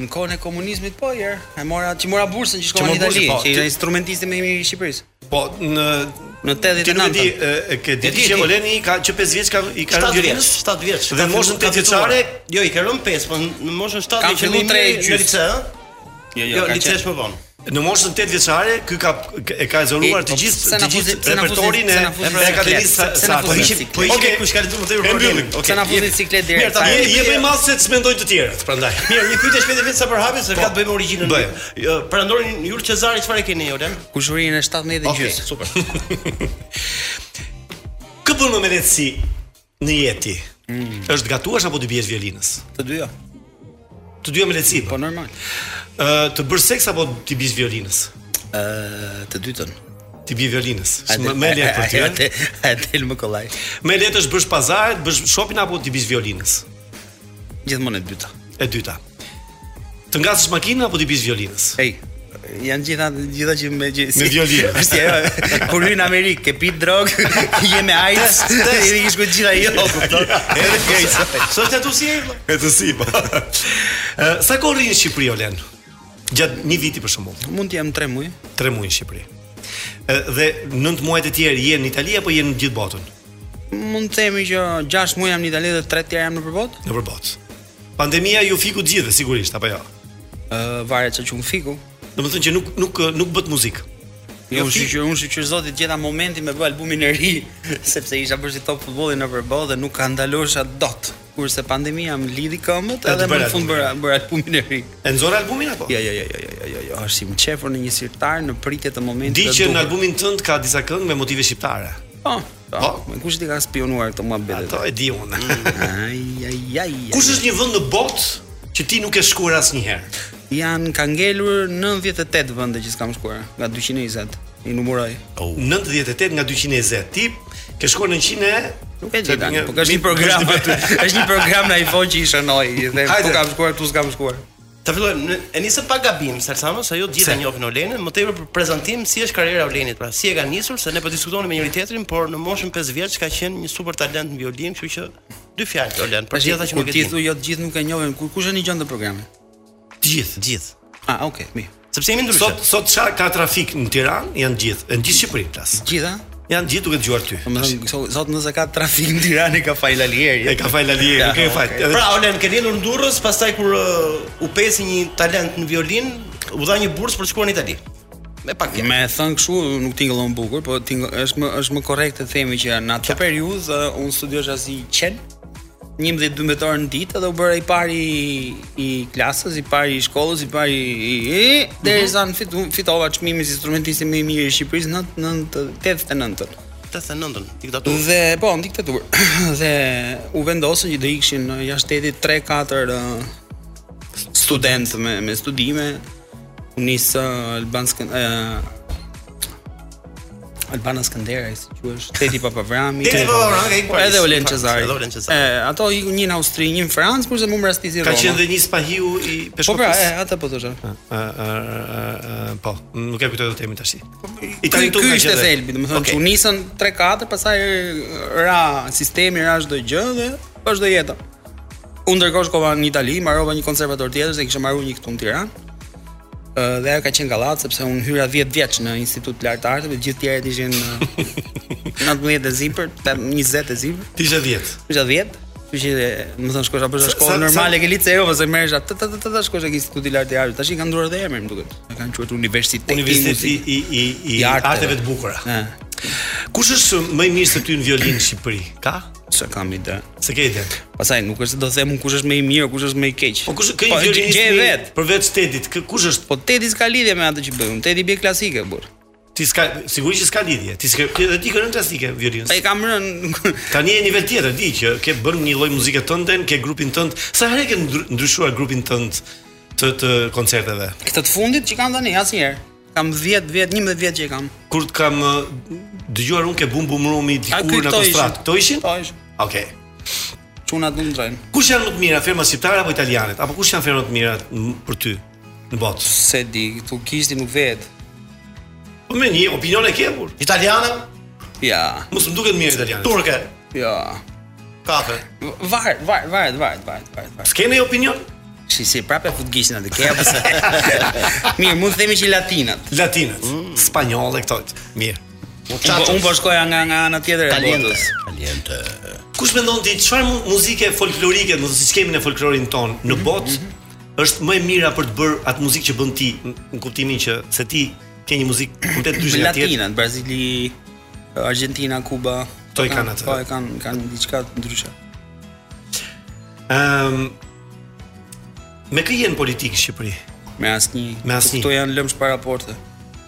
[SPEAKER 11] në kohën e komunizmit po jer. E mora që mora bursën që
[SPEAKER 7] Që
[SPEAKER 11] shkova në
[SPEAKER 7] mora bursën,
[SPEAKER 11] Itali,
[SPEAKER 7] po,
[SPEAKER 11] që
[SPEAKER 7] që-
[SPEAKER 11] ishte instrumentisti më i mirë i Shqipërisë.
[SPEAKER 7] Po në
[SPEAKER 11] Në 89.
[SPEAKER 7] Ti nuk e di, e, e, ke
[SPEAKER 11] E di,
[SPEAKER 7] ditë që
[SPEAKER 11] di.
[SPEAKER 7] Oleni ka që 5 vjeç ka i ka
[SPEAKER 2] 7
[SPEAKER 7] rënë
[SPEAKER 2] vjeç,
[SPEAKER 7] vjeç.
[SPEAKER 2] 7 vjeç.
[SPEAKER 7] Dhe moshën 8 vjeçare,
[SPEAKER 2] jo, i ka rënë 5, po në moshën 7
[SPEAKER 11] Kam
[SPEAKER 2] i qenë
[SPEAKER 11] fillu tre
[SPEAKER 2] mirë
[SPEAKER 11] gjys.
[SPEAKER 2] në lice, ëh?
[SPEAKER 11] Jo,
[SPEAKER 2] Jo, lice është më vonë.
[SPEAKER 7] në moshën 8 vjeçare ky ka e ka zoruar
[SPEAKER 11] E,
[SPEAKER 7] të
[SPEAKER 11] po,
[SPEAKER 7] gjithë
[SPEAKER 11] pse na
[SPEAKER 7] të gjithë
[SPEAKER 11] fuzi- pse na fuzi-
[SPEAKER 7] repertorin e
[SPEAKER 11] pse na fuzi
[SPEAKER 7] e pra- e akademisë
[SPEAKER 11] ciklet? Pse na
[SPEAKER 7] sa
[SPEAKER 11] fuzi ciklet?
[SPEAKER 7] Po ishte
[SPEAKER 2] Okej,
[SPEAKER 7] kush
[SPEAKER 2] kush ka lënë më
[SPEAKER 7] e
[SPEAKER 2] thënë
[SPEAKER 7] mbyllim.
[SPEAKER 2] problemin.
[SPEAKER 11] Pse na fuzi ciklet deri?
[SPEAKER 7] Mirë, tani
[SPEAKER 11] Sa-
[SPEAKER 7] je je më i madh se ç'mendojnë të tjerët, prandaj.
[SPEAKER 2] Mirë, një pyetje shpejt e vetë sa për hapin se ka të Po, bëjmë me origjinën.
[SPEAKER 7] Bëj.
[SPEAKER 2] Jo, Prandorin Jur Cezari çfarë keni Olen?
[SPEAKER 11] Kushurinë e 17 dhe
[SPEAKER 2] Okej,
[SPEAKER 11] gjys.
[SPEAKER 2] super.
[SPEAKER 7] Kë bën më me lehtësi në jeti?
[SPEAKER 11] Mm.
[SPEAKER 7] Është gatuash apo të biesh violinës?
[SPEAKER 11] Të dyja.
[SPEAKER 7] Të dyja me lehtësi.
[SPEAKER 11] Po normal.
[SPEAKER 7] Ë të bësh seks apo të biesh violinës?
[SPEAKER 11] Ë, të dytën.
[SPEAKER 7] Ti bie violinës.
[SPEAKER 11] A
[SPEAKER 7] Është më- Më lehtë për ty.
[SPEAKER 11] Atë atë më kollaj.
[SPEAKER 7] ë? Më lehtë është bësh pazaret, bësh shopping apo të biesh violinës?
[SPEAKER 11] Gjithmonë e dyta.
[SPEAKER 7] E dyta. Të ngasësh makinën apo të biesh violinës?
[SPEAKER 11] Ej, janë gjitha gjitha që me gjë
[SPEAKER 7] Me violinë.
[SPEAKER 11] Është ajo kur hyn në Amerikë, ke pit drog, je me AIDS,
[SPEAKER 7] test.
[SPEAKER 11] i shkoj gjitha jo, kupton? Edhe keq.
[SPEAKER 2] Sot të tu si e?
[SPEAKER 7] E të si, po. Ë, Sa kohë rrinë në Shqipëri, Olen? Gjatë një viti për shembull,
[SPEAKER 11] Mund të jem 3 muaj.
[SPEAKER 7] 3 muaj në Shqipëri. Ë, Dhe 9 muajt e tjerë je në Itali apo je në gjithë botën?
[SPEAKER 11] Mund të themi që 6 muaj jam në Itali dhe 3 tjerë jam në përbot.
[SPEAKER 7] Nëpër botë. Pandemia ju fiku të gjithëve sigurisht apo jo?
[SPEAKER 11] Ë varet çka qum fiku.
[SPEAKER 7] Domethënë që nuk nuk nuk bëhet muzikë.
[SPEAKER 11] Jo, unë shqyr, unë shqyr zoti gjeta momentin me bë albumin e ri, sepse isha bërë si top futbolli në përbo dhe nuk ka ndalosha dot. Kurse pandemia më lidhi
[SPEAKER 7] E,
[SPEAKER 11] këmbët
[SPEAKER 7] të
[SPEAKER 11] edhe më
[SPEAKER 7] bëra
[SPEAKER 11] në fund bëra bëra albumin e ri.
[SPEAKER 7] E nxorë albumin apo?
[SPEAKER 11] Jo, jo, jo, jo, jo, jo, jo, jo, është si më çefur në një sirtar në pritje të momentit
[SPEAKER 7] Di
[SPEAKER 11] të
[SPEAKER 7] që në
[SPEAKER 11] duhur.
[SPEAKER 7] albumin tënd ka disa këngë me motive shqiptare.
[SPEAKER 11] Po. Po, me kush ti ka spionuar këto muhabete?
[SPEAKER 7] Ato e di unë.
[SPEAKER 11] Ai, ai, ai.
[SPEAKER 7] Kush është një vend në botë që ti nuk e shkuar asnjëherë?
[SPEAKER 11] Jan ka ngelur 98 vende që s'kam shkuar, nga 220 i numëroj.
[SPEAKER 7] Oh. 98 nga 220. Ti ke shkuar në 100 e
[SPEAKER 11] Nuk e di tani, po ka është një program aty. Është një program në iPhone që i shënoi, dhe po
[SPEAKER 2] Hajde.
[SPEAKER 11] kam shkuar, tu s'kam shkuar.
[SPEAKER 2] Ta fillojmë, në- e nisëm pa gabim, Salsano, se ajo të gjithë e
[SPEAKER 11] Se?
[SPEAKER 2] njohin Olenin, më tepër për prezantim si është karriera e Olenit, pra si e ka nisur, se ne po diskutonim me njëri tjetrin, por në moshën 5 vjeç ka qenë një super talent në violin, kështu që dy fjalë Olen, për
[SPEAKER 11] Tash,
[SPEAKER 2] Po, gjithë ata që
[SPEAKER 11] kur
[SPEAKER 2] nuk e
[SPEAKER 11] ti
[SPEAKER 2] dinë.
[SPEAKER 11] thu jo të gjithë nuk e njohin, ku kush e nigjon të programin?
[SPEAKER 7] Të gjithë,
[SPEAKER 2] gjithë.
[SPEAKER 11] Ah, okay, mirë.
[SPEAKER 2] Sepse jemi ndryshe.
[SPEAKER 7] Sot sot çfarë ka trafik në Tiranë, janë gjithë, në gjithë Shqipërinë plas.
[SPEAKER 11] Gjithë,
[SPEAKER 7] Janë gjithë duke dëgjuar ty.
[SPEAKER 11] Domethënë, sot- sot nëse ka trafik në Tiranë ka fajl Alieri.
[SPEAKER 7] E ka fajl Alieri, nuk e fajl. Edhe-
[SPEAKER 2] Pra Olen ke lindur në Durrës, pastaj kur uh, u pesi një talent në violin, u dha një bursë për të shkuar në Itali. Me pak fjalë.
[SPEAKER 11] Me thënë kështu nuk tingëllon bukur, po tingëll është më është më korrekte të themi që në atë periudhë ë, unë studiosha si qen 11-12 orë në ditë dhe u bëra i pari i, i klasës, i pari i shkollës, i pari i, i derisa
[SPEAKER 2] Mhm.
[SPEAKER 11] në fitu, fitova çmimin si instrumentisti më i mirë i Shqipërisë në 89-ën.
[SPEAKER 2] 89-ën, diktaturë.
[SPEAKER 11] Dhe po, në diktaturë. dhe u vendosën që do ikshin ë, jashtë shtetit 3-4 ë, studentë uh, me me studime. U uh, nis ë, albanskën ë, Albana Skënderaj, si quhesh, Teti Papavrami.
[SPEAKER 2] Teti Papavrami, ka ikur
[SPEAKER 11] Po,
[SPEAKER 2] Paris,
[SPEAKER 11] Edhe Olen
[SPEAKER 2] në Francë,
[SPEAKER 11] Cezari.
[SPEAKER 2] edhe Olen Cezari.
[SPEAKER 11] E, ato ikun një në Austri, një në Francë, kurse më mbrastisi
[SPEAKER 7] Ka
[SPEAKER 11] Roma.
[SPEAKER 7] qenë dhe një spahiu i
[SPEAKER 11] Po pra,
[SPEAKER 7] Peshkopës.
[SPEAKER 11] e, atë po thosha.
[SPEAKER 7] Ë, ë, ë, ë, Po, nuk e kujtoj dot emrin tash. I
[SPEAKER 11] Ky
[SPEAKER 7] tani tu
[SPEAKER 11] ky
[SPEAKER 7] ka
[SPEAKER 11] ishte
[SPEAKER 7] qenë.
[SPEAKER 11] thelbi, domethënë
[SPEAKER 7] Okej.
[SPEAKER 11] okay. u nisën 3-4, pastaj ra sistemi, ra çdo gjë dhe vazhdo jeta. Unë ndërkohë shkova në Itali, mbarova një konservator tjetër, se kisha marrë një këtu në Tiranë. Ë, dhe ajo ka qenë gallat sepse unë hyra 10 vjeç në Institut Lart Arteve, gjithë tjerët ishin ë, 19 e zipër, 20 e zipër.
[SPEAKER 7] Ti ishe 10.
[SPEAKER 11] Isha 10. Kështu që më thon shkosh apo
[SPEAKER 7] Sa-
[SPEAKER 11] është shkollë
[SPEAKER 7] sa-
[SPEAKER 11] normale
[SPEAKER 7] sa-
[SPEAKER 11] ke jo, liceu ose merresh atë të të të shkosh tek Instituti Lart Arteve. Tash i kanë ndruar dhe emrin, më duket. E kanë quajtur Universiteti
[SPEAKER 7] Universiteti
[SPEAKER 11] Muzikës.
[SPEAKER 7] i i i, i arteve. të bukura. Kush është më i mirë se ty në violin në Shqipëri? Ka?
[SPEAKER 11] Sa kam ide.
[SPEAKER 7] Se ke ide.
[SPEAKER 11] Pastaj nuk është se do të them unë kush është më i mirë, kush është më i keq.
[SPEAKER 7] Po kush kë një violinist
[SPEAKER 11] gje- gje
[SPEAKER 7] mirë
[SPEAKER 11] vet.
[SPEAKER 7] përveç Tedit, kë- kush është?
[SPEAKER 11] Po Tedi s'ka lidhje me atë që bëj unë. Tedi bie klasike burr.
[SPEAKER 7] Ti s'ka sigurisht që s'ka lidhje. Ti s'ke edhe ti kënën klasike violin.
[SPEAKER 11] Ai kam rën
[SPEAKER 7] Tani je në nivel tjetër, di që ke bërë një lloj muzike tënde, ke grupin tënd. Sa herë ke ndry- ndryshuar grupin tënd të të koncerteve?
[SPEAKER 11] këtë të fundit që kam tani asnjëherë. Kam 10 vjet, 11 vjet që e kam.
[SPEAKER 7] Kur të kam ë, dëgjuar unë ke bum bum rumi
[SPEAKER 11] A,
[SPEAKER 7] dikur
[SPEAKER 11] ky-
[SPEAKER 7] në
[SPEAKER 11] këto
[SPEAKER 7] autostradë.
[SPEAKER 11] ishin.
[SPEAKER 7] Kto ishin?
[SPEAKER 11] Po ish.
[SPEAKER 7] Okej.
[SPEAKER 11] Çunat nuk ndrojnë.
[SPEAKER 7] Kush janë më të mira, firma shqiptare apo italianet? Apo kush janë firma të mira m- për ty në botë?
[SPEAKER 11] Se di, tu kishti nuk vet.
[SPEAKER 7] Po me një opinion e ke kur.
[SPEAKER 2] Italiane,
[SPEAKER 11] Ja.
[SPEAKER 7] Mos më duket mirë italianet.
[SPEAKER 2] turke,
[SPEAKER 11] Ja.
[SPEAKER 2] kafe.
[SPEAKER 11] Varet, varet, varet, varet, varet, varet. varet.
[SPEAKER 7] S'ke ndonjë opinion?
[SPEAKER 11] Si si prapë e fut gishtin atë ke apo se. Mirë, mund të themi që latinat.
[SPEAKER 7] Latinët,
[SPEAKER 11] Mm.
[SPEAKER 7] spanjollë këto. Mirë.
[SPEAKER 11] Unë po- unë po shkoja nga nga ana tjetër e
[SPEAKER 7] Talente.
[SPEAKER 11] botës.
[SPEAKER 7] Kush mendon ti çfarë mu- muzike folklorike, do të thotë siç kemi në folklorin ton në
[SPEAKER 11] Mhm,
[SPEAKER 7] botë, është më e mira për të bërë atë muzikë që bën ti, n- në kuptimin që se ti ke një muzikë komplet ndryshe nga tjetër.
[SPEAKER 11] Latinat, Brazili, Argentina, Kuba.
[SPEAKER 7] To i kanë atë.
[SPEAKER 11] Po, e kanë kanë diçka ndryshe.
[SPEAKER 7] Ëm Ehm, me kë jenë politikë në Shqipëri?
[SPEAKER 11] Me asnjë.
[SPEAKER 7] Me asnjë.
[SPEAKER 11] Kto janë lëmsh para porte.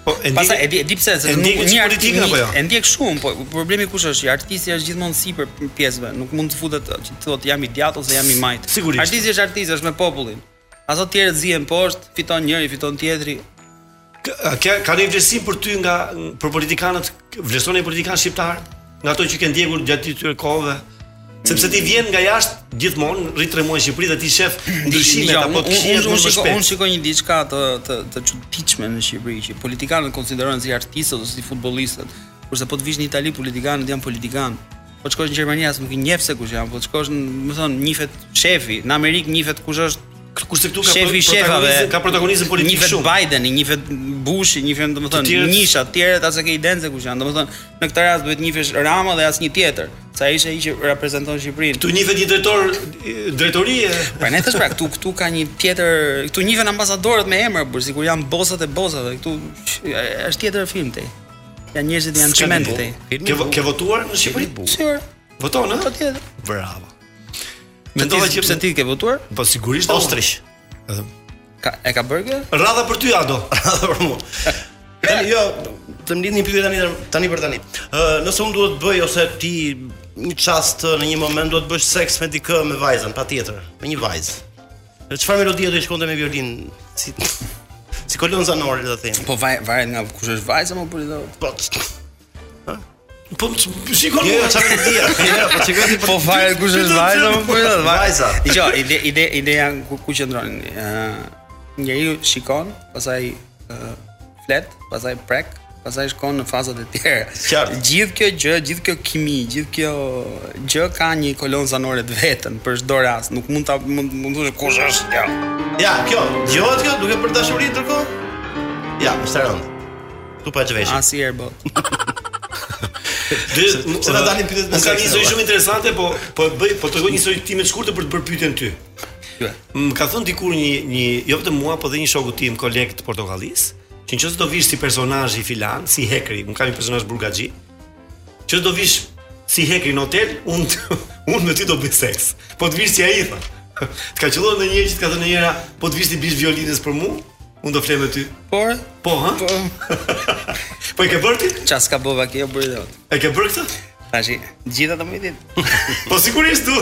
[SPEAKER 7] Po, e ndjek.
[SPEAKER 11] Pastaj e di e di pse se
[SPEAKER 7] e
[SPEAKER 11] nuk
[SPEAKER 7] ndjek
[SPEAKER 11] një
[SPEAKER 7] politikën
[SPEAKER 11] artist-
[SPEAKER 7] apo jo?
[SPEAKER 11] E ndjek shumë, po problemi kush është? Artisti është gjithmonë sipër pjesëve, nuk mund të futet që të thotë jam i djathtë ose jam i majt.
[SPEAKER 7] Sigurisht.
[SPEAKER 11] Artisti është artist, është me popullin. Ato tjerët zihen poshtë, fiton njëri, fiton tjetri.
[SPEAKER 7] K- a Ka ka një vlerësim për ty nga për politikanët, vlerëson një politikan shqiptar nga ato që ke ndjekur gjatë këtyre kohëve? Sepse ti vjen nga jashtë gjithmonë, rrit tre muaj në Shqipëri dhe ti shef ndryshimet
[SPEAKER 11] Dgjoj,
[SPEAKER 7] apo
[SPEAKER 11] unë-
[SPEAKER 7] të këshillat
[SPEAKER 11] unë-
[SPEAKER 7] më
[SPEAKER 11] unë shiko-
[SPEAKER 7] shpejt.
[SPEAKER 11] Unë shikoj një diçka të të të çuditshme në Shqipëri që politikanët konsiderohen si artistët ose si futbollistët, kurse po të vish në Itali politikanët janë politikanë. Po të shkosh në Gjermani as nuk i njeh se kush janë, po të shkosh në, më thon, njihet shefi, në Amerikë njihet kush është
[SPEAKER 7] kurse këtu ka
[SPEAKER 11] shefi i
[SPEAKER 7] pro-
[SPEAKER 11] shefave,
[SPEAKER 7] protagonizëm- ka protagonizëm politik
[SPEAKER 11] njihet
[SPEAKER 7] shumë.
[SPEAKER 11] Biden, njihet Bush, njihen
[SPEAKER 7] Të tjerët-
[SPEAKER 11] domethënë nisha, të tjerët as e ke idenë se kush janë. Domethënë në këtë rast duhet njihesh Rama dhe asnjë tjetër, se Sa ishte ai që reprezenton Shqipërinë.
[SPEAKER 7] Ktu njihet një drejtor drejtorie.
[SPEAKER 11] Po ne thash pra, këtu këtu ka një tjetër, këtu njihen ambasadorët me emër, por sikur janë bosat e bosave. Këtu sh- është tjetër film te. Janë njerëzit janë çment te.
[SPEAKER 7] po. Ke vo- ke votuar në Shqipëri?
[SPEAKER 11] Sigur.
[SPEAKER 2] Po,
[SPEAKER 7] Voton, ëh?
[SPEAKER 11] Patjetër.
[SPEAKER 7] Bravo.
[SPEAKER 11] Mendova që pse ti ke votuar?
[SPEAKER 7] Po sigurisht Austrish.
[SPEAKER 11] Ka e ka bërë kjo?
[SPEAKER 7] Radha për ty Ado.
[SPEAKER 2] Radha për mua. Tani jo, të më lidh një pyetje tani tani për tani. Ë, nëse unë duhet bëj ose ti një çast në një moment duhet bësh seks me dikë me vajzën, patjetër, me një vajzë. E Çfarë melodie do të shkonte me violin? Si si kolon zanore do të them.
[SPEAKER 11] Po vaj varet nga kush është vajza më për
[SPEAKER 2] Po.
[SPEAKER 7] Po shikoj
[SPEAKER 2] Jo, çfarë melodia? Jo, po shikoj ti
[SPEAKER 11] Po varet kush është vajza më po do.
[SPEAKER 2] Vajza.
[SPEAKER 11] Dgjoj, ide ide ideja ku ku qëndron. Ë njeriu shikon, pastaj ë, flet, pastaj prek, pastaj shkon në fazat e tjera. Gjithë kjo gjë, gjithë kjo kimi, gjithë kjo gjë ka një kolon zanore të vetën për çdo rast. Nuk mund ta mund mund të thosh kush është kjo.
[SPEAKER 2] Ja, kjo, dëgohet kjo duke për dashuri ndërkohë? Ja, është e rëndë. po Ktu pa çvesh.
[SPEAKER 11] Asnjëherë bot.
[SPEAKER 7] Dhe
[SPEAKER 2] pse ta dalin pyetjet me
[SPEAKER 7] Unë Ka
[SPEAKER 2] seksin,
[SPEAKER 7] një histori
[SPEAKER 2] apo?
[SPEAKER 7] shumë interesante, po po e bëj, po tregoj një histori time të shkurtër për të bërë pyetjen ty. Më ka thënë dikur një një jo vetëm mua, po dhe një shoku tim, koleg të portokallis, që nëse do vish si personazh i filan, si hekri, unë kam një personazh burgaxhi, që do vish si hekri në hotel, unë unë me ty do bëj seks. Po të vish si ai tha. Të ka qelluar ndonjëherë që të ka thënë njëra, po të vish ti bish violinës për mua, unë do flem me ty.
[SPEAKER 11] Por
[SPEAKER 7] po, ha?
[SPEAKER 11] Po.
[SPEAKER 7] po e ke bërë ti?
[SPEAKER 11] Ças ka bova kjo bëri dot.
[SPEAKER 7] E ke bërë këtë?
[SPEAKER 11] Tashi, gjithë ata më i ditë.
[SPEAKER 7] Po sigurisht du.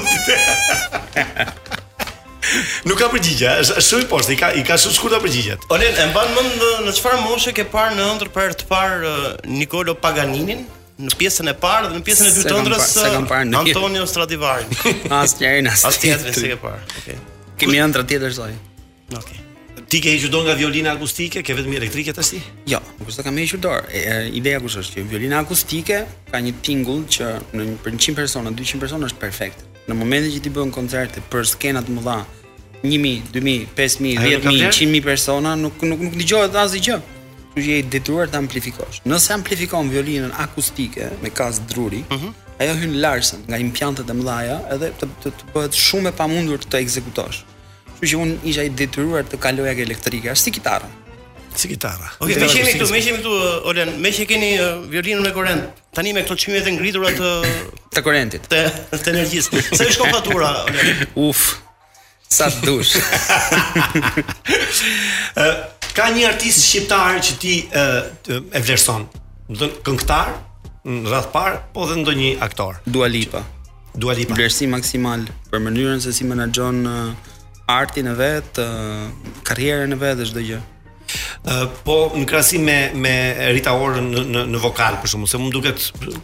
[SPEAKER 7] Nuk ka përgjigje, është është shumë i poshtë, i ka i ka shumë shkurtë përgjigjet.
[SPEAKER 2] Olen, e mban mend ë, në çfarë moshe ke parë në ëndër për herë të parë ë, Nikolo Paganinin? Në pjesën e parë dhe në pjesën e dytë
[SPEAKER 11] Se
[SPEAKER 2] të
[SPEAKER 11] kam
[SPEAKER 2] ëndrës
[SPEAKER 11] parë- se
[SPEAKER 2] ë,
[SPEAKER 11] kam parë në-
[SPEAKER 2] Antonio Stradivari.
[SPEAKER 11] Asnjëherë as
[SPEAKER 2] As tjetrin se ke parë. Okej.
[SPEAKER 11] Kemi ëndra tjetër soi.
[SPEAKER 2] Okej.
[SPEAKER 7] Ti ke hequr dorë nga violina akustike, ke vetëm elektrike tash ti?
[SPEAKER 11] Jo, nuk është ta kam hequr dorë. E, e, Ideja kush është që violina akustike ka një tingull që në një- për 100 persona, 200 persona është perfekt. Në momentin që ti bën koncerte për skena të mëdha, 1000, 2000, 5000,
[SPEAKER 7] Ajo nuk ka
[SPEAKER 11] 10000,
[SPEAKER 7] vlerë?
[SPEAKER 11] 100000 persona, nuk nuk nuk dëgohet asgjë. Kështu që je i detyruar të amplifikosh. Nëse amplifikon violinën akustike me kas druri,
[SPEAKER 7] Mhm.
[SPEAKER 11] ajo hyn larsen nga impjantet e mëdha edhe të, të, të bëhet shumë e pamundur të ekzekutosh. Kështu që unë isha i detyruar të kaloj ag elektrike, është si kitarën.
[SPEAKER 7] Si kitara.
[SPEAKER 2] Okej, me qemi këtu, me qemi këtu ë, Olen, me që keni ë, violinën me korrent. Tani me këto çmimet e ngritura të
[SPEAKER 11] të korrentit,
[SPEAKER 2] të të energjisë. Sa i shkon fatura, Olen?
[SPEAKER 11] Uf. Sa të dush.
[SPEAKER 7] Ë, ka një artist shqiptar që ti ë, të- e vlerëson. Do të thënë këngëtar në radh parë, po dhe ndonjë aktor.
[SPEAKER 11] Dua Lipa.
[SPEAKER 7] Dua Lipa.
[SPEAKER 11] Vlerësim maksimal për mënyrën se si menaxhon ë, artin e vet, ë, karrierën e vet dhe çdo gjë.
[SPEAKER 7] Ë, po në krahasim me me Rita Orën në në, në vokal për shkakun, se më duket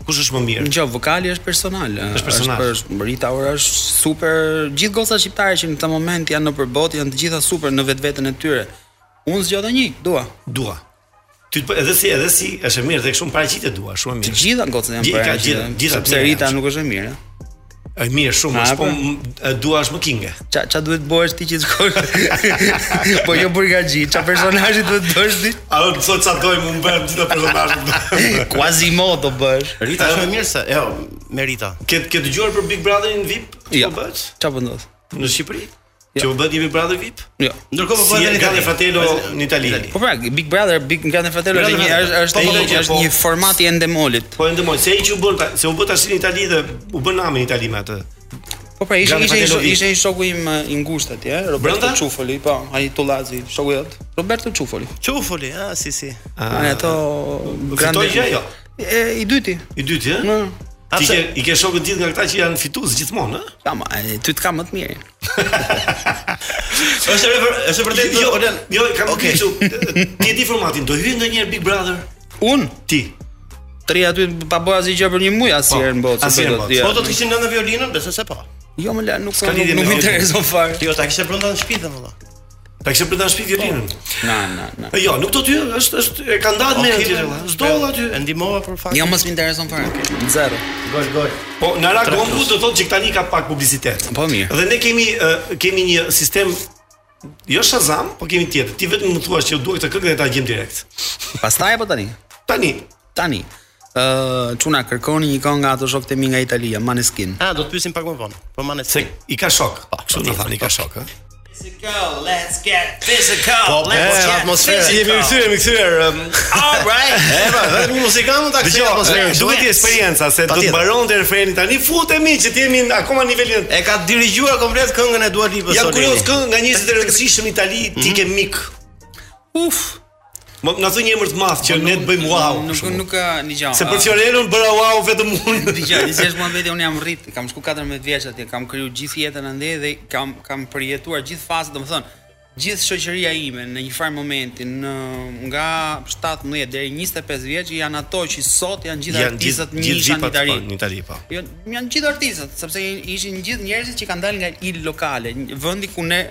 [SPEAKER 7] kush është më mirë.
[SPEAKER 11] Jo, vokali është personal. ë,
[SPEAKER 7] Është personal.
[SPEAKER 11] Është për Rita Ora është super. Gjithë gocat shqiptare që në këtë moment janë nëpër botë, janë të gjitha super në vetveten e tyre. Unë zgjodha një, dua.
[SPEAKER 7] Dua. Ty të- po, edhe si edhe si është e mirë dhe shumë paraqitet dua, shumë e mirë.
[SPEAKER 11] Të gjitha gocat janë
[SPEAKER 7] Gjithë-
[SPEAKER 11] për.
[SPEAKER 7] ka
[SPEAKER 11] arsye,
[SPEAKER 7] gjithë- gjitha
[SPEAKER 11] sepse
[SPEAKER 7] mirë
[SPEAKER 11] Rita
[SPEAKER 7] janë.
[SPEAKER 11] nuk është e mirë. ë.
[SPEAKER 7] E mirë shumë,
[SPEAKER 11] A,
[SPEAKER 7] është, po
[SPEAKER 11] po.
[SPEAKER 7] m- e, dua është më kinge.
[SPEAKER 11] Ça ça duhet bëhesh ti që të shkosh? po jo burgaxhi, ça personazhi duhet bësh ti?
[SPEAKER 7] A do të thotë sa doj më bën gjithë personazhet.
[SPEAKER 11] Quasimodo bësh.
[SPEAKER 2] Rita është më mirë se jo, me Rita.
[SPEAKER 7] Ke ke dëgjuar për Big Brotherin VIP?
[SPEAKER 11] Ja.
[SPEAKER 7] Po bëhet
[SPEAKER 11] Ça po ndodh?
[SPEAKER 7] në Shqipëri? Që u bëhet një Big Brother VIP?
[SPEAKER 11] Jo.
[SPEAKER 2] Ndërkohë po bëhet
[SPEAKER 7] Si
[SPEAKER 2] edhe në
[SPEAKER 7] Gale
[SPEAKER 2] Itali.
[SPEAKER 7] Fratello në Itali.
[SPEAKER 11] Po pra, Big Brother, Big Brother Fratello
[SPEAKER 7] Brother
[SPEAKER 11] është një
[SPEAKER 7] Fratello.
[SPEAKER 11] është është
[SPEAKER 7] Po, po,
[SPEAKER 11] një
[SPEAKER 7] po,
[SPEAKER 11] është
[SPEAKER 7] po.
[SPEAKER 11] një format i endemolit.
[SPEAKER 7] Po ndemoj, se ai që u bën, ta- se u bë tash në Itali dhe u bën nami në Itali me atë.
[SPEAKER 11] Po pra, ishte
[SPEAKER 7] Grand
[SPEAKER 11] ishte
[SPEAKER 7] Fratello
[SPEAKER 11] ishte,
[SPEAKER 7] VIP.
[SPEAKER 11] ishte një shoku im eh, i ngushtë atje, eh, Roberto
[SPEAKER 7] Brenda?
[SPEAKER 11] Çufoli, po, ai Tullazi, shoku jot. Roberto Çufoli.
[SPEAKER 2] Çufoli, ah si si.
[SPEAKER 11] Ah, ato
[SPEAKER 7] Fitoi gjë ajo.
[SPEAKER 11] E, i dyti.
[SPEAKER 7] I dyti, ë? Ti
[SPEAKER 11] Atë-
[SPEAKER 7] ke i ke shokët gjithë nga këta që janë fitues gjithmonë, ë?
[SPEAKER 11] Kam, ty të kam më të mirë.
[SPEAKER 2] Është vër- është vërtet
[SPEAKER 7] Jo,
[SPEAKER 2] Olen.
[SPEAKER 7] jo, kam
[SPEAKER 2] Okej.
[SPEAKER 7] okay. ti e di formatin, do hyj ndonjëherë Big Brother?
[SPEAKER 11] Un
[SPEAKER 7] ti.
[SPEAKER 11] Tri aty pa bëra asgjë gjë për një muaj
[SPEAKER 7] Po,
[SPEAKER 11] asnjëherë në botë. se do të-
[SPEAKER 2] Po do të kishin nënë violinën, besoj se po.
[SPEAKER 11] Jo, më la, nuk
[SPEAKER 2] S'ka
[SPEAKER 11] nuk,
[SPEAKER 2] lidhje me
[SPEAKER 11] nuk më
[SPEAKER 2] audio.
[SPEAKER 11] intereson fare.
[SPEAKER 2] Jo, ta kishte brenda në shtëpi domethënë.
[SPEAKER 7] Ta kishe brenda në shtëpi violinën.
[SPEAKER 11] Na, na, na.
[SPEAKER 2] Po.
[SPEAKER 7] E, Jo, nuk do ty, është është e ka ndarë me
[SPEAKER 2] Okej,
[SPEAKER 7] atë.
[SPEAKER 2] po,
[SPEAKER 7] S'do aty.
[SPEAKER 2] E ndihmova për fakt.
[SPEAKER 11] Jo, mos më intereson fare. Zero.
[SPEAKER 2] Gol, gol.
[SPEAKER 7] Po në Aragombu do thotë që tani ka pak publicitet.
[SPEAKER 11] Po mirë.
[SPEAKER 7] Dhe ne kemi ë, kemi një sistem jo Shazam, po kemi tjetër. Ti vetëm më thua që dua këtë këngë dhe ta gjejmë direkt.
[SPEAKER 11] Pastaj apo tani?
[SPEAKER 7] Tani.
[SPEAKER 11] Tani. ë çuna kërkoni një këngë nga ato shokët e mi nga Italia, Maneskin.
[SPEAKER 2] Ah, do të pyesim pak më vonë. Po Maneskin.
[SPEAKER 7] Se i ka shok. Kështu na thani, i ka shok, ë?
[SPEAKER 12] Physical, let's get physical.
[SPEAKER 2] Po, po,
[SPEAKER 12] let's
[SPEAKER 2] po,
[SPEAKER 12] get
[SPEAKER 2] atmosferë.
[SPEAKER 12] physical.
[SPEAKER 2] Jemi kthyer, jemi kthyer.
[SPEAKER 12] All right.
[SPEAKER 2] E pra, vetëm një muzikant mund ta kthej
[SPEAKER 7] Dgjoj,
[SPEAKER 2] atmosferën.
[SPEAKER 7] e, duhet të jetë eksperienca se do të
[SPEAKER 2] Patjetër.
[SPEAKER 7] mbaronte refreni tani futemi që të jemi në- akoma në nivelin.
[SPEAKER 2] E ka dirigjuar komplet këngën e Dua Lipës.
[SPEAKER 7] Jam
[SPEAKER 2] Solini.
[SPEAKER 7] kurioz këngë nga njerëzit e rëndësishëm në Itali, ti ke mik. Uf. Më na thënë një emër të madh që ne të bëjmë wow.
[SPEAKER 11] Nuk nuk ka një gjë.
[SPEAKER 7] Se për Fiorenun bëra wow vetëm unë.
[SPEAKER 11] Dgjaj, disi është Muhamedi, unë jam rrit, kam shku 14 vjeç atje, kam kriju gjithë jetën ande dhe kam kam përjetuar gjithë fazat, domethënë, gjithë shoqëria ime në një farë momenti në nga 17 deri 25 vjeç janë ato që sot janë gjithë
[SPEAKER 7] Janë gjithë
[SPEAKER 11] artistët
[SPEAKER 7] gjithë
[SPEAKER 11] nisha në
[SPEAKER 7] gjipat
[SPEAKER 11] Itali.
[SPEAKER 7] po, në Itali po.
[SPEAKER 11] Jo, janë gjithë artistët, sepse ishin gjithë njerëzit që kanë dalë nga il lokale, një vendi ku ne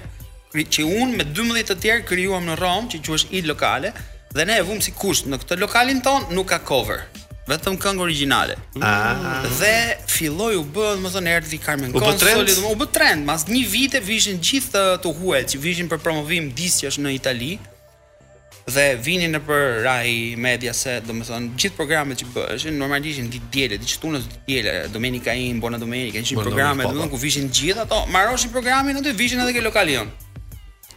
[SPEAKER 11] kri- që unë me 12 të tjerë krijuam në Rom, që quhesh il lokale, dhe ne e vum si kusht në këtë lokalin ton nuk ka cover, vetëm këngë origjinale.
[SPEAKER 7] Ah.
[SPEAKER 11] Dhe filloi u bë, domethënë erdhi Carmen
[SPEAKER 7] U bë trend?
[SPEAKER 11] Consoli, domethënë u bë trend, mas një vite vishin gjithë të, të huajt që vishin për promovim disqesh në Itali dhe vinin në për Rai Media se domethënë gjithë programet që bëheshin normalisht ishin ditë diele, ditë shtunës, ditë diele, Domenica In, Bona Domenica, ishin
[SPEAKER 7] Bona
[SPEAKER 11] programe
[SPEAKER 7] Domenica, po,
[SPEAKER 11] domethënë
[SPEAKER 7] po.
[SPEAKER 11] ku vishin gjithë ato, marroshin programin aty, vishin edhe ke lokalion.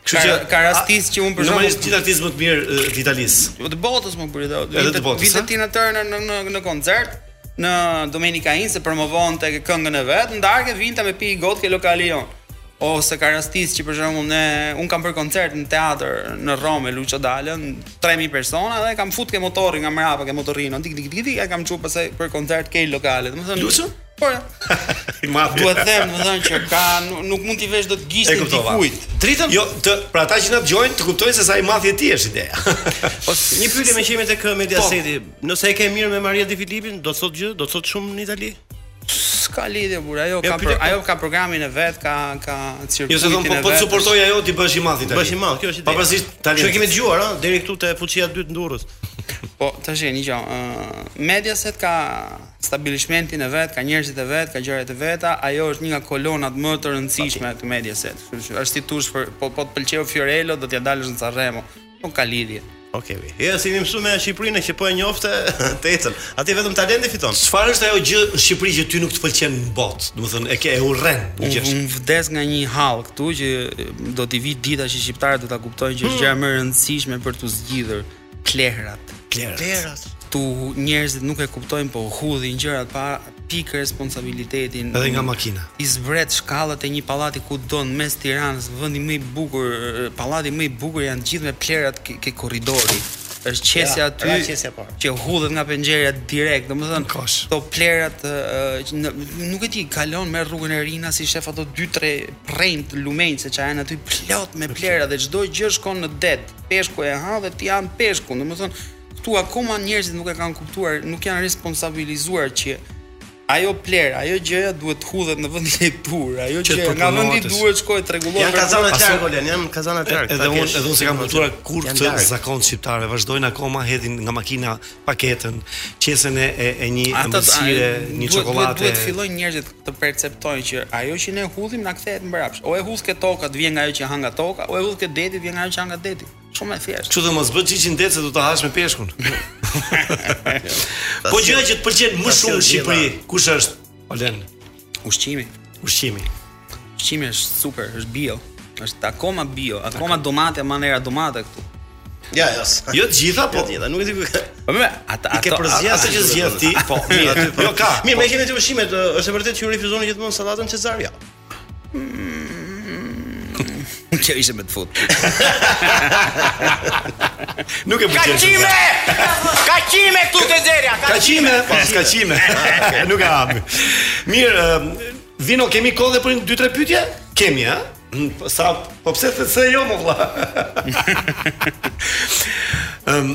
[SPEAKER 7] Kështu që
[SPEAKER 11] ka rastis që unë për
[SPEAKER 7] Normalisht
[SPEAKER 11] shembull-
[SPEAKER 7] gjithë artistët më të mirë e, të Italisë.
[SPEAKER 11] Po të botës më bëri dhe
[SPEAKER 7] Edhe të botës,
[SPEAKER 11] Vinte
[SPEAKER 7] ha?
[SPEAKER 11] Tina Turner në në në koncert në Domenica In se promovonte këngën e vet, ndarke vinte me pi gotë ke lokali jon. Ose ka rastis që për shembull ne un kam për koncert në teatr në Rom me Lucio Dallën, 3000 persona dhe kam fut ke motorin nga mrapa ke motorino, tik tik tik tik, e kam çu pasaj për koncert ke lokale. Domethënë Lucio? Po. Duhet them, domethënë që ka nu- nuk mund t'i vesh dot
[SPEAKER 7] E
[SPEAKER 11] gishtin
[SPEAKER 7] kuptova.
[SPEAKER 11] dikujt.
[SPEAKER 2] Tritën?
[SPEAKER 7] Jo, të, për ata që na dëgjojnë, të kuptojnë se sa i madh je ti është ideja.
[SPEAKER 2] Po një pyetje me qemi tek Media
[SPEAKER 7] Po.
[SPEAKER 2] City. Nëse e ke mirë me Maria Di Filipin, do të thot gjë, do të thot shumë në Itali.
[SPEAKER 11] S'ka lidhje burr, ajo
[SPEAKER 2] Jo,
[SPEAKER 11] ka
[SPEAKER 2] pyetje
[SPEAKER 11] për,
[SPEAKER 2] po.
[SPEAKER 11] ajo ka programin e vet, ka ka cirkuitin e vet.
[SPEAKER 7] Jo se thon po po të suportoj ajo ti bësh i madh Itali.
[SPEAKER 2] Bësh i madh, kjo është ide.
[SPEAKER 7] Pavarësisht talentit.
[SPEAKER 2] Kjo e kemi dëgjuar, ha, deri këtu te fuqia e dytë në Durrës.
[SPEAKER 11] Po, tash një gjë, ë Mediaset ka stabilishmentin e vet, ka njerëzit e vet, ka gjërat e veta, ajo është një nga kolonat më të rëndësishme të Mediaset. Kështu që është si tush për po po të pëlqeu Fiorello, do t'ja dalësh në Sanremo. Nuk ka lidhje.
[SPEAKER 2] Okej. Okay, ja, si më mësu me Shqipërinë që po e njofte Tecën. Atje vetëm talenti fiton.
[SPEAKER 7] Çfarë është ajo gjë në Shqipëri që ty nuk të pëlqen në botë? Domethënë e ke e urren, nuk
[SPEAKER 11] Unë
[SPEAKER 2] Mhm.
[SPEAKER 7] është.
[SPEAKER 11] unë vdes nga një hall këtu që do t'i vi dita që shqiptarët do ta kuptojnë që
[SPEAKER 7] Mm.
[SPEAKER 11] është gjëra më e rëndësishme për t'u zgjidhur klehrat.
[SPEAKER 7] Klerat.
[SPEAKER 2] Klerat.
[SPEAKER 11] Tu njerëzit nuk e kuptojnë po hudhin gjërat pa pikë responsabilitetin.
[SPEAKER 7] Edhe nga makina.
[SPEAKER 11] I zbret shkallët e një pallati ku do në mes Tiranës, vendi më i bukur, pallati më i bukur janë gjithë me plerat ke, ke korridori. Është qesja
[SPEAKER 2] Ja,
[SPEAKER 11] aty.
[SPEAKER 2] ra qesja po.
[SPEAKER 11] Që hudhet nga pengjeria direkt, domethënë këto plerat ë, që në- nuk e di, kalon me rrugën e Rina si shef ato 2-3 prrent lumenj se çfarë janë aty plot me plera dhe çdo gjë shkon në det. Peshku e ha dhe ti han peshkun, domethënë këtu akoma njerëzit nuk e kanë kuptuar, nuk janë responsabilizuar që ajo pler, ajo gjëja duhet të hudhet në vendin e dur, ajo
[SPEAKER 7] Që të
[SPEAKER 11] gjë nga vendi
[SPEAKER 7] proponohet.
[SPEAKER 11] duhet shkojë rregullohet.
[SPEAKER 2] Janë
[SPEAKER 11] për-
[SPEAKER 2] kazana të
[SPEAKER 11] Aso-
[SPEAKER 2] larg, Olen, janë kazana të larg.
[SPEAKER 7] Edhe
[SPEAKER 2] ta
[SPEAKER 7] unë
[SPEAKER 2] kesh.
[SPEAKER 7] edhe unë se kam kuptuar kur
[SPEAKER 2] Janë
[SPEAKER 7] këtë
[SPEAKER 2] larg.
[SPEAKER 7] zakon shqiptare vazhdojnë akoma hedhin nga makina paketën, qesen e e, e një
[SPEAKER 11] Ata
[SPEAKER 7] ëmbëlsire,
[SPEAKER 11] ai,
[SPEAKER 7] një
[SPEAKER 11] duhet-
[SPEAKER 7] çokoladë.
[SPEAKER 11] Duhet, duhet fillojnë njerëzit të perceptojnë që ajo që ne hudhim na kthehet mbrapsht. O e hudh ke tokat, vjen nga ajo që han nga toka, o e hudh ke detit, vjen nga ajo që han nga deti. Shumë e thjeshtë.
[SPEAKER 7] Kështu dhe mos bë xhixhin det se do ta hash me peshkun. po gjëja që të pëlqen më shumë
[SPEAKER 11] Ta sjell
[SPEAKER 7] në Shqipëri,
[SPEAKER 11] gjella.
[SPEAKER 7] kush është? Olen.
[SPEAKER 11] Ushqimi.
[SPEAKER 7] Ushqimi.
[SPEAKER 11] Ushqimi është super, është bio. Është akoma bio, akoma domate, manera domate këtu.
[SPEAKER 2] Ja, ja.
[SPEAKER 7] Jo të gjitha, po.
[SPEAKER 2] Jo të gjitha, nuk e di ku.
[SPEAKER 11] Po më, ata
[SPEAKER 2] I ke përzgjedhë
[SPEAKER 7] ato që zgjedh ti, po, mirë, aty, po.
[SPEAKER 2] Mirë,
[SPEAKER 7] Po.
[SPEAKER 2] më kemi të ushimet, ë, është e vërtet që ju refuzoni gjithmonë sallatën Cezar, ja.
[SPEAKER 11] Kjo ishte me të fut.
[SPEAKER 7] Nuk e pëlqen. shumë.
[SPEAKER 12] Kaqime! Kaqime këtu te zerja,
[SPEAKER 7] Kaqime, po, kaqime. Nuk e hap. Mirë, ë, Vino, kemi kohë dhe për një 2-3 pyetje? Kemi, ha? Mm, po, Sa, po pse të se jo, më vlla? Ëm,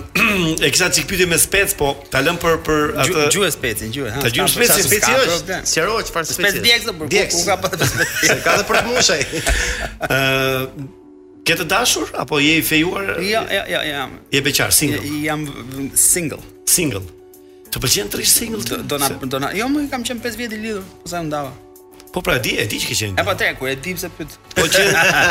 [SPEAKER 7] e kisha çik pyetje me spec, po ta lëm për për atë
[SPEAKER 11] Gju- gjuhe specin, gjuhe, ha,
[SPEAKER 7] Ta gjujmë
[SPEAKER 11] s'ka-
[SPEAKER 7] specin,
[SPEAKER 11] s'ka
[SPEAKER 7] speci
[SPEAKER 11] problem.
[SPEAKER 7] është.
[SPEAKER 2] Sqaro çfarë speci.
[SPEAKER 11] Spec djegës apo ku ka pa
[SPEAKER 2] Se ka dhe për të mushaj.
[SPEAKER 7] Ë, ke të dashur apo je i fejuar?
[SPEAKER 11] Jo, jo, jo, jam.
[SPEAKER 7] Je beqar single.
[SPEAKER 11] Jam single.
[SPEAKER 7] Single. Të pëlqen të rish single?
[SPEAKER 11] Do, do na do na. Jo, më kam qenë 5 vjet i lidhur, pastaj u ndava.
[SPEAKER 7] Po pra di, e di që ke qenë.
[SPEAKER 11] E pa tre kur e di pse pyet.
[SPEAKER 7] Po që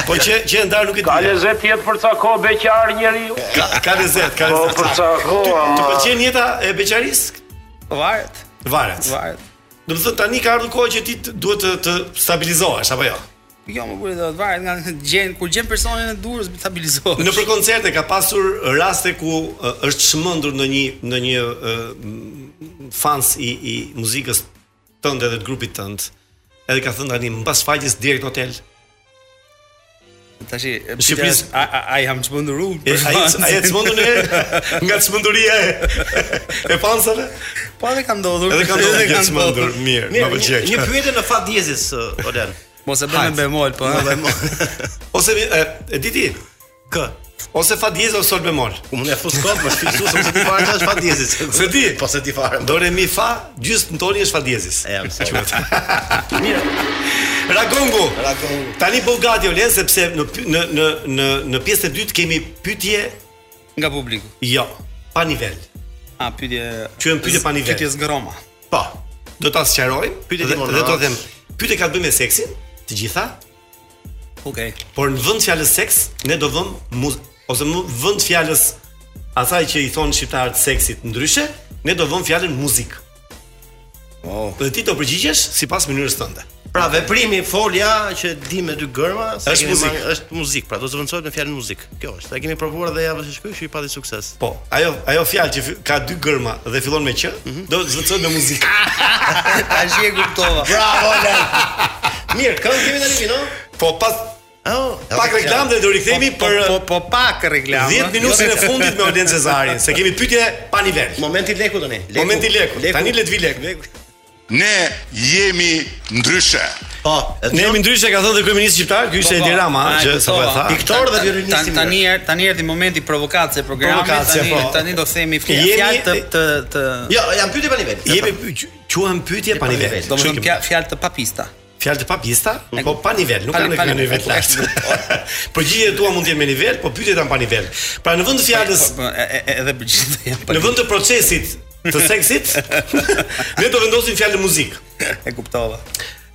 [SPEAKER 7] po që që e ndar nuk e di.
[SPEAKER 13] Ka lezet jetë për ca kohë beqar njeriu.
[SPEAKER 7] Ka, ka lezet, ka
[SPEAKER 13] Po,
[SPEAKER 7] lezet.
[SPEAKER 13] për sa kohë,
[SPEAKER 7] Ty- Të
[SPEAKER 13] ama-
[SPEAKER 7] pëlqen jeta e beqarisë?
[SPEAKER 11] Varet.
[SPEAKER 7] Varet.
[SPEAKER 11] Varet.
[SPEAKER 7] Do të thënë tani ka ardhur koha që ti të- duhet të, të stabilizohesh apo jo?
[SPEAKER 11] Jo, më bëri do të varet nga gjen kur gjen personin e durës stabilizohet.
[SPEAKER 7] Në për koncerte ka pasur raste ku ë, është shmendur ndonjë ndonjë ë, fans i i muzikës tënde dhe të grupit tënd. Edhe ka thënë tani mbas faqes direkt hotel.
[SPEAKER 11] Tashi e
[SPEAKER 7] Në Shqipërisë-
[SPEAKER 11] pyetja është, a- a- ai jam çmendur unë.
[SPEAKER 7] E,
[SPEAKER 11] për
[SPEAKER 7] ai
[SPEAKER 11] fansin.
[SPEAKER 7] ai e çmendur në herë nga çmenduria e e fansave.
[SPEAKER 11] Po edhe ka ndodhur.
[SPEAKER 7] Edhe ka ndodhur që
[SPEAKER 11] ka
[SPEAKER 7] çmendur, mirë,
[SPEAKER 2] Mirë,
[SPEAKER 7] më pëlqej.
[SPEAKER 2] Një pyetje në fat diezis, uh, Olen.
[SPEAKER 11] Mos e
[SPEAKER 2] bën me
[SPEAKER 11] bemol, po.
[SPEAKER 2] Me bemol.
[SPEAKER 7] Ose e, e di ti?
[SPEAKER 2] K.
[SPEAKER 7] Ose fa diez ose sol bemol.
[SPEAKER 2] U më ne fus kot, më shfisu se ti fare tash fa diezis.
[SPEAKER 7] Se di.
[SPEAKER 2] Po se ti fare.
[SPEAKER 7] Do re mi fa, gjysmë toni është fa diezis.
[SPEAKER 2] E jam se.
[SPEAKER 7] Ragongu.
[SPEAKER 2] Ragongu.
[SPEAKER 7] Tani po gati Olen sepse në py- në në në në pjesën e dytë kemi pyetje
[SPEAKER 11] nga publiku.
[SPEAKER 7] Jo, pa nivel.
[SPEAKER 11] A pyetje.
[SPEAKER 7] Quhen pyetje pa nivel.
[SPEAKER 11] Pyetje zgroma.
[SPEAKER 7] Po. Do ta sqarojmë.
[SPEAKER 11] Pyetje
[SPEAKER 7] dhe,
[SPEAKER 11] timorale.
[SPEAKER 7] dhe do të them, pyetje ka të bëjë me seksin, të gjitha,
[SPEAKER 11] Okej.
[SPEAKER 7] por në vend fjalës seks ne do vëm muz ose në vend fjalës asaj që i thon shqiptarët seksit ndryshe, ne do vëm fjalën muzikë.
[SPEAKER 11] Oh.
[SPEAKER 7] Dhe ti do përgjigjesh sipas mënyrës tënde.
[SPEAKER 2] Pra veprimi folja që di me dy gërma se
[SPEAKER 7] Është
[SPEAKER 2] kemi
[SPEAKER 7] muzikë.
[SPEAKER 2] marrë- është muzikë, pra do të zëvendësohet me fjalën muzikë. Kjo është. Ta kemi provuar dhe javën e shkuar që i pati sukses.
[SPEAKER 7] Po, ajo ajo fjalë që fi- ka dy gërma dhe fillon me q, do të zvocohet me muzikë.
[SPEAKER 11] Tash e kuptova.
[SPEAKER 2] Bravo, Olen. Mirë, këngë kemi tani, no?
[SPEAKER 7] Po pas
[SPEAKER 2] Oh,
[SPEAKER 7] pak reklam dhe do rikthehemi
[SPEAKER 11] Po,
[SPEAKER 7] për
[SPEAKER 11] po, po, po pak reklam.
[SPEAKER 7] 10 minutën e fundit me Olen Cezarin, se kemi pyetje pa nivel.
[SPEAKER 2] Momenti leku tani. Leku.
[SPEAKER 7] Momenti leku. Tani le të vi leku.
[SPEAKER 8] Ne jemi ndryshe.
[SPEAKER 2] Po,
[SPEAKER 7] Ne jemi ndryshe ka thënë dhe kryeministri shqiptar, ky
[SPEAKER 11] Po,
[SPEAKER 7] ishte Edi Rama, që sa po e tha.
[SPEAKER 11] Tani tani er- tani erdhi momenti provokatë e programit.
[SPEAKER 7] Provokacie,
[SPEAKER 11] Tani
[SPEAKER 7] po.
[SPEAKER 11] tani do themi fjalë
[SPEAKER 7] Jemi-
[SPEAKER 11] fjalë të të të
[SPEAKER 2] Jo, janë pyetje pa nivel.
[SPEAKER 7] Jemi quhen pyetje pa nivel.
[SPEAKER 11] Do të
[SPEAKER 7] Kështu
[SPEAKER 11] thënë Mhm.
[SPEAKER 7] kemi.
[SPEAKER 11] fja- fjalë të papista.
[SPEAKER 7] Fjalë të papista, po pa nivel, nuk
[SPEAKER 11] Pa-
[SPEAKER 7] kanë
[SPEAKER 11] pa-
[SPEAKER 7] kanë nivel
[SPEAKER 11] pa-
[SPEAKER 7] lart. Përgjigjet tua mund të jenë me nivel, po pyetjet janë pa nivel. Pra në vend të fjalës
[SPEAKER 11] Po, e- e- e- Edhe përgjithë janë
[SPEAKER 7] Në vend të procesit të seksit, ne do vendosim fjalën muzikë.
[SPEAKER 11] E kuptova.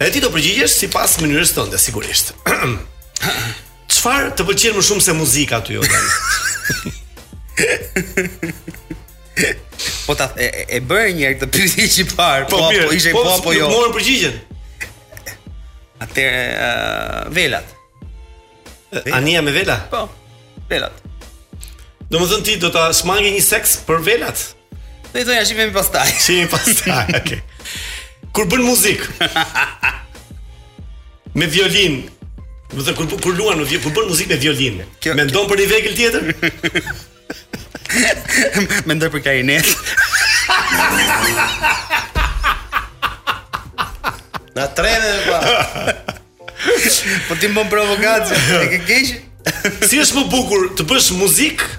[SPEAKER 7] Edhe ti do përgjigjesh sipas mënyrës tënde, sigurisht. Çfarë të pëlqen më shumë se muzika aty Odan?
[SPEAKER 11] Po ta e, e- e bëre një herë këtë pyetje që parë, po po, po ishte po apo jo.
[SPEAKER 7] Nuk morën përgjigjen.
[SPEAKER 11] Atëre ë, velat.
[SPEAKER 7] Ania me vela?
[SPEAKER 11] Po. Velat.
[SPEAKER 7] Do më thënë ti do ta shmangi një seks për velat?
[SPEAKER 11] Do i thoja shihemi pastaj.
[SPEAKER 7] Shihemi pastaj, okay. Kur bën muzikë. me violin. Do të thënë, kur kur luan me vi- kur bën muzikë me violin. Mendon për një vegël tjetër?
[SPEAKER 11] Mendoj për klarinet.
[SPEAKER 2] Na trene pa.
[SPEAKER 11] po ti më bën provokatë, e ke keq?
[SPEAKER 7] Si është më bukur të bësh muzikë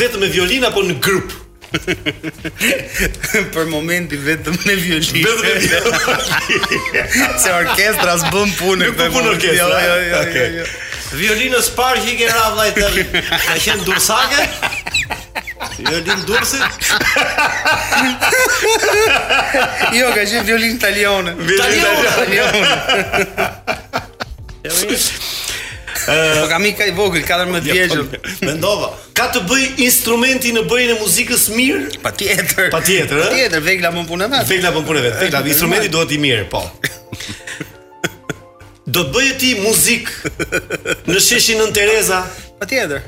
[SPEAKER 7] vetëm me violin apo në grup?
[SPEAKER 11] për momentin vetëm me violin.
[SPEAKER 7] Vetëm me
[SPEAKER 11] Se orkestra s'bën punë
[SPEAKER 7] Nuk po punë orkestra,
[SPEAKER 11] Jo, jo, jo.
[SPEAKER 7] okay.
[SPEAKER 11] jo, jo.
[SPEAKER 2] Violinës parë që i ke ra vllai tani. Ka qenë dursake? Violin dursit?
[SPEAKER 11] Jo, ka qenë violin italiane.
[SPEAKER 2] Italiane.
[SPEAKER 11] Jo, Po kam i ka i vogël 14 vjeçëm.
[SPEAKER 7] po.
[SPEAKER 2] Mendova.
[SPEAKER 7] Ka të bëj instrumenti në bëjën e muzikës mirë?
[SPEAKER 11] Patjetër.
[SPEAKER 7] Patjetër, ë?
[SPEAKER 11] Patjetër, vegla më punë vetë.
[SPEAKER 7] Vegla po punë vetë. Vegla, instrumenti duhet i mirë, po. Do të bëje ti muzikë në sheshin Nën Tereza?
[SPEAKER 11] Patjetër.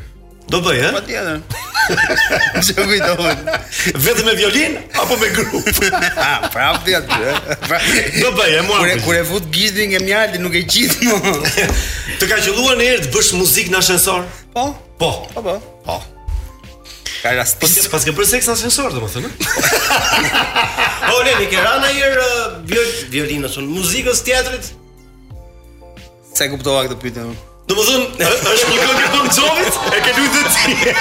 [SPEAKER 7] Do bëj, eh? ë?
[SPEAKER 11] Patjetër. Ço kujtohet. Po.
[SPEAKER 7] Vetëm me violin apo me grup?
[SPEAKER 11] Ah, prapë ti aty. ë? Prapë.
[SPEAKER 7] Do bëj, e mua
[SPEAKER 11] Kur e-
[SPEAKER 7] pëlqen.
[SPEAKER 11] kur e fut gizdin e mjalti nuk e gjit më.
[SPEAKER 7] Të ka qelluar një herë të bësh muzikë në ashensor?
[SPEAKER 11] Po,
[SPEAKER 7] Po.
[SPEAKER 11] po po.
[SPEAKER 7] Po.
[SPEAKER 11] Ka rasti.
[SPEAKER 7] Po se- pas ke bërë seks në ashensor, domethënë, ë?
[SPEAKER 2] O Leni ke ra ndonjëherë uh, viol violinës, unë, muzikës teatrit?
[SPEAKER 11] Se kuptova këtë pyetje unë.
[SPEAKER 7] Domethënë, ë- është një këngë e Bon Jovit, e ke luajtur ti.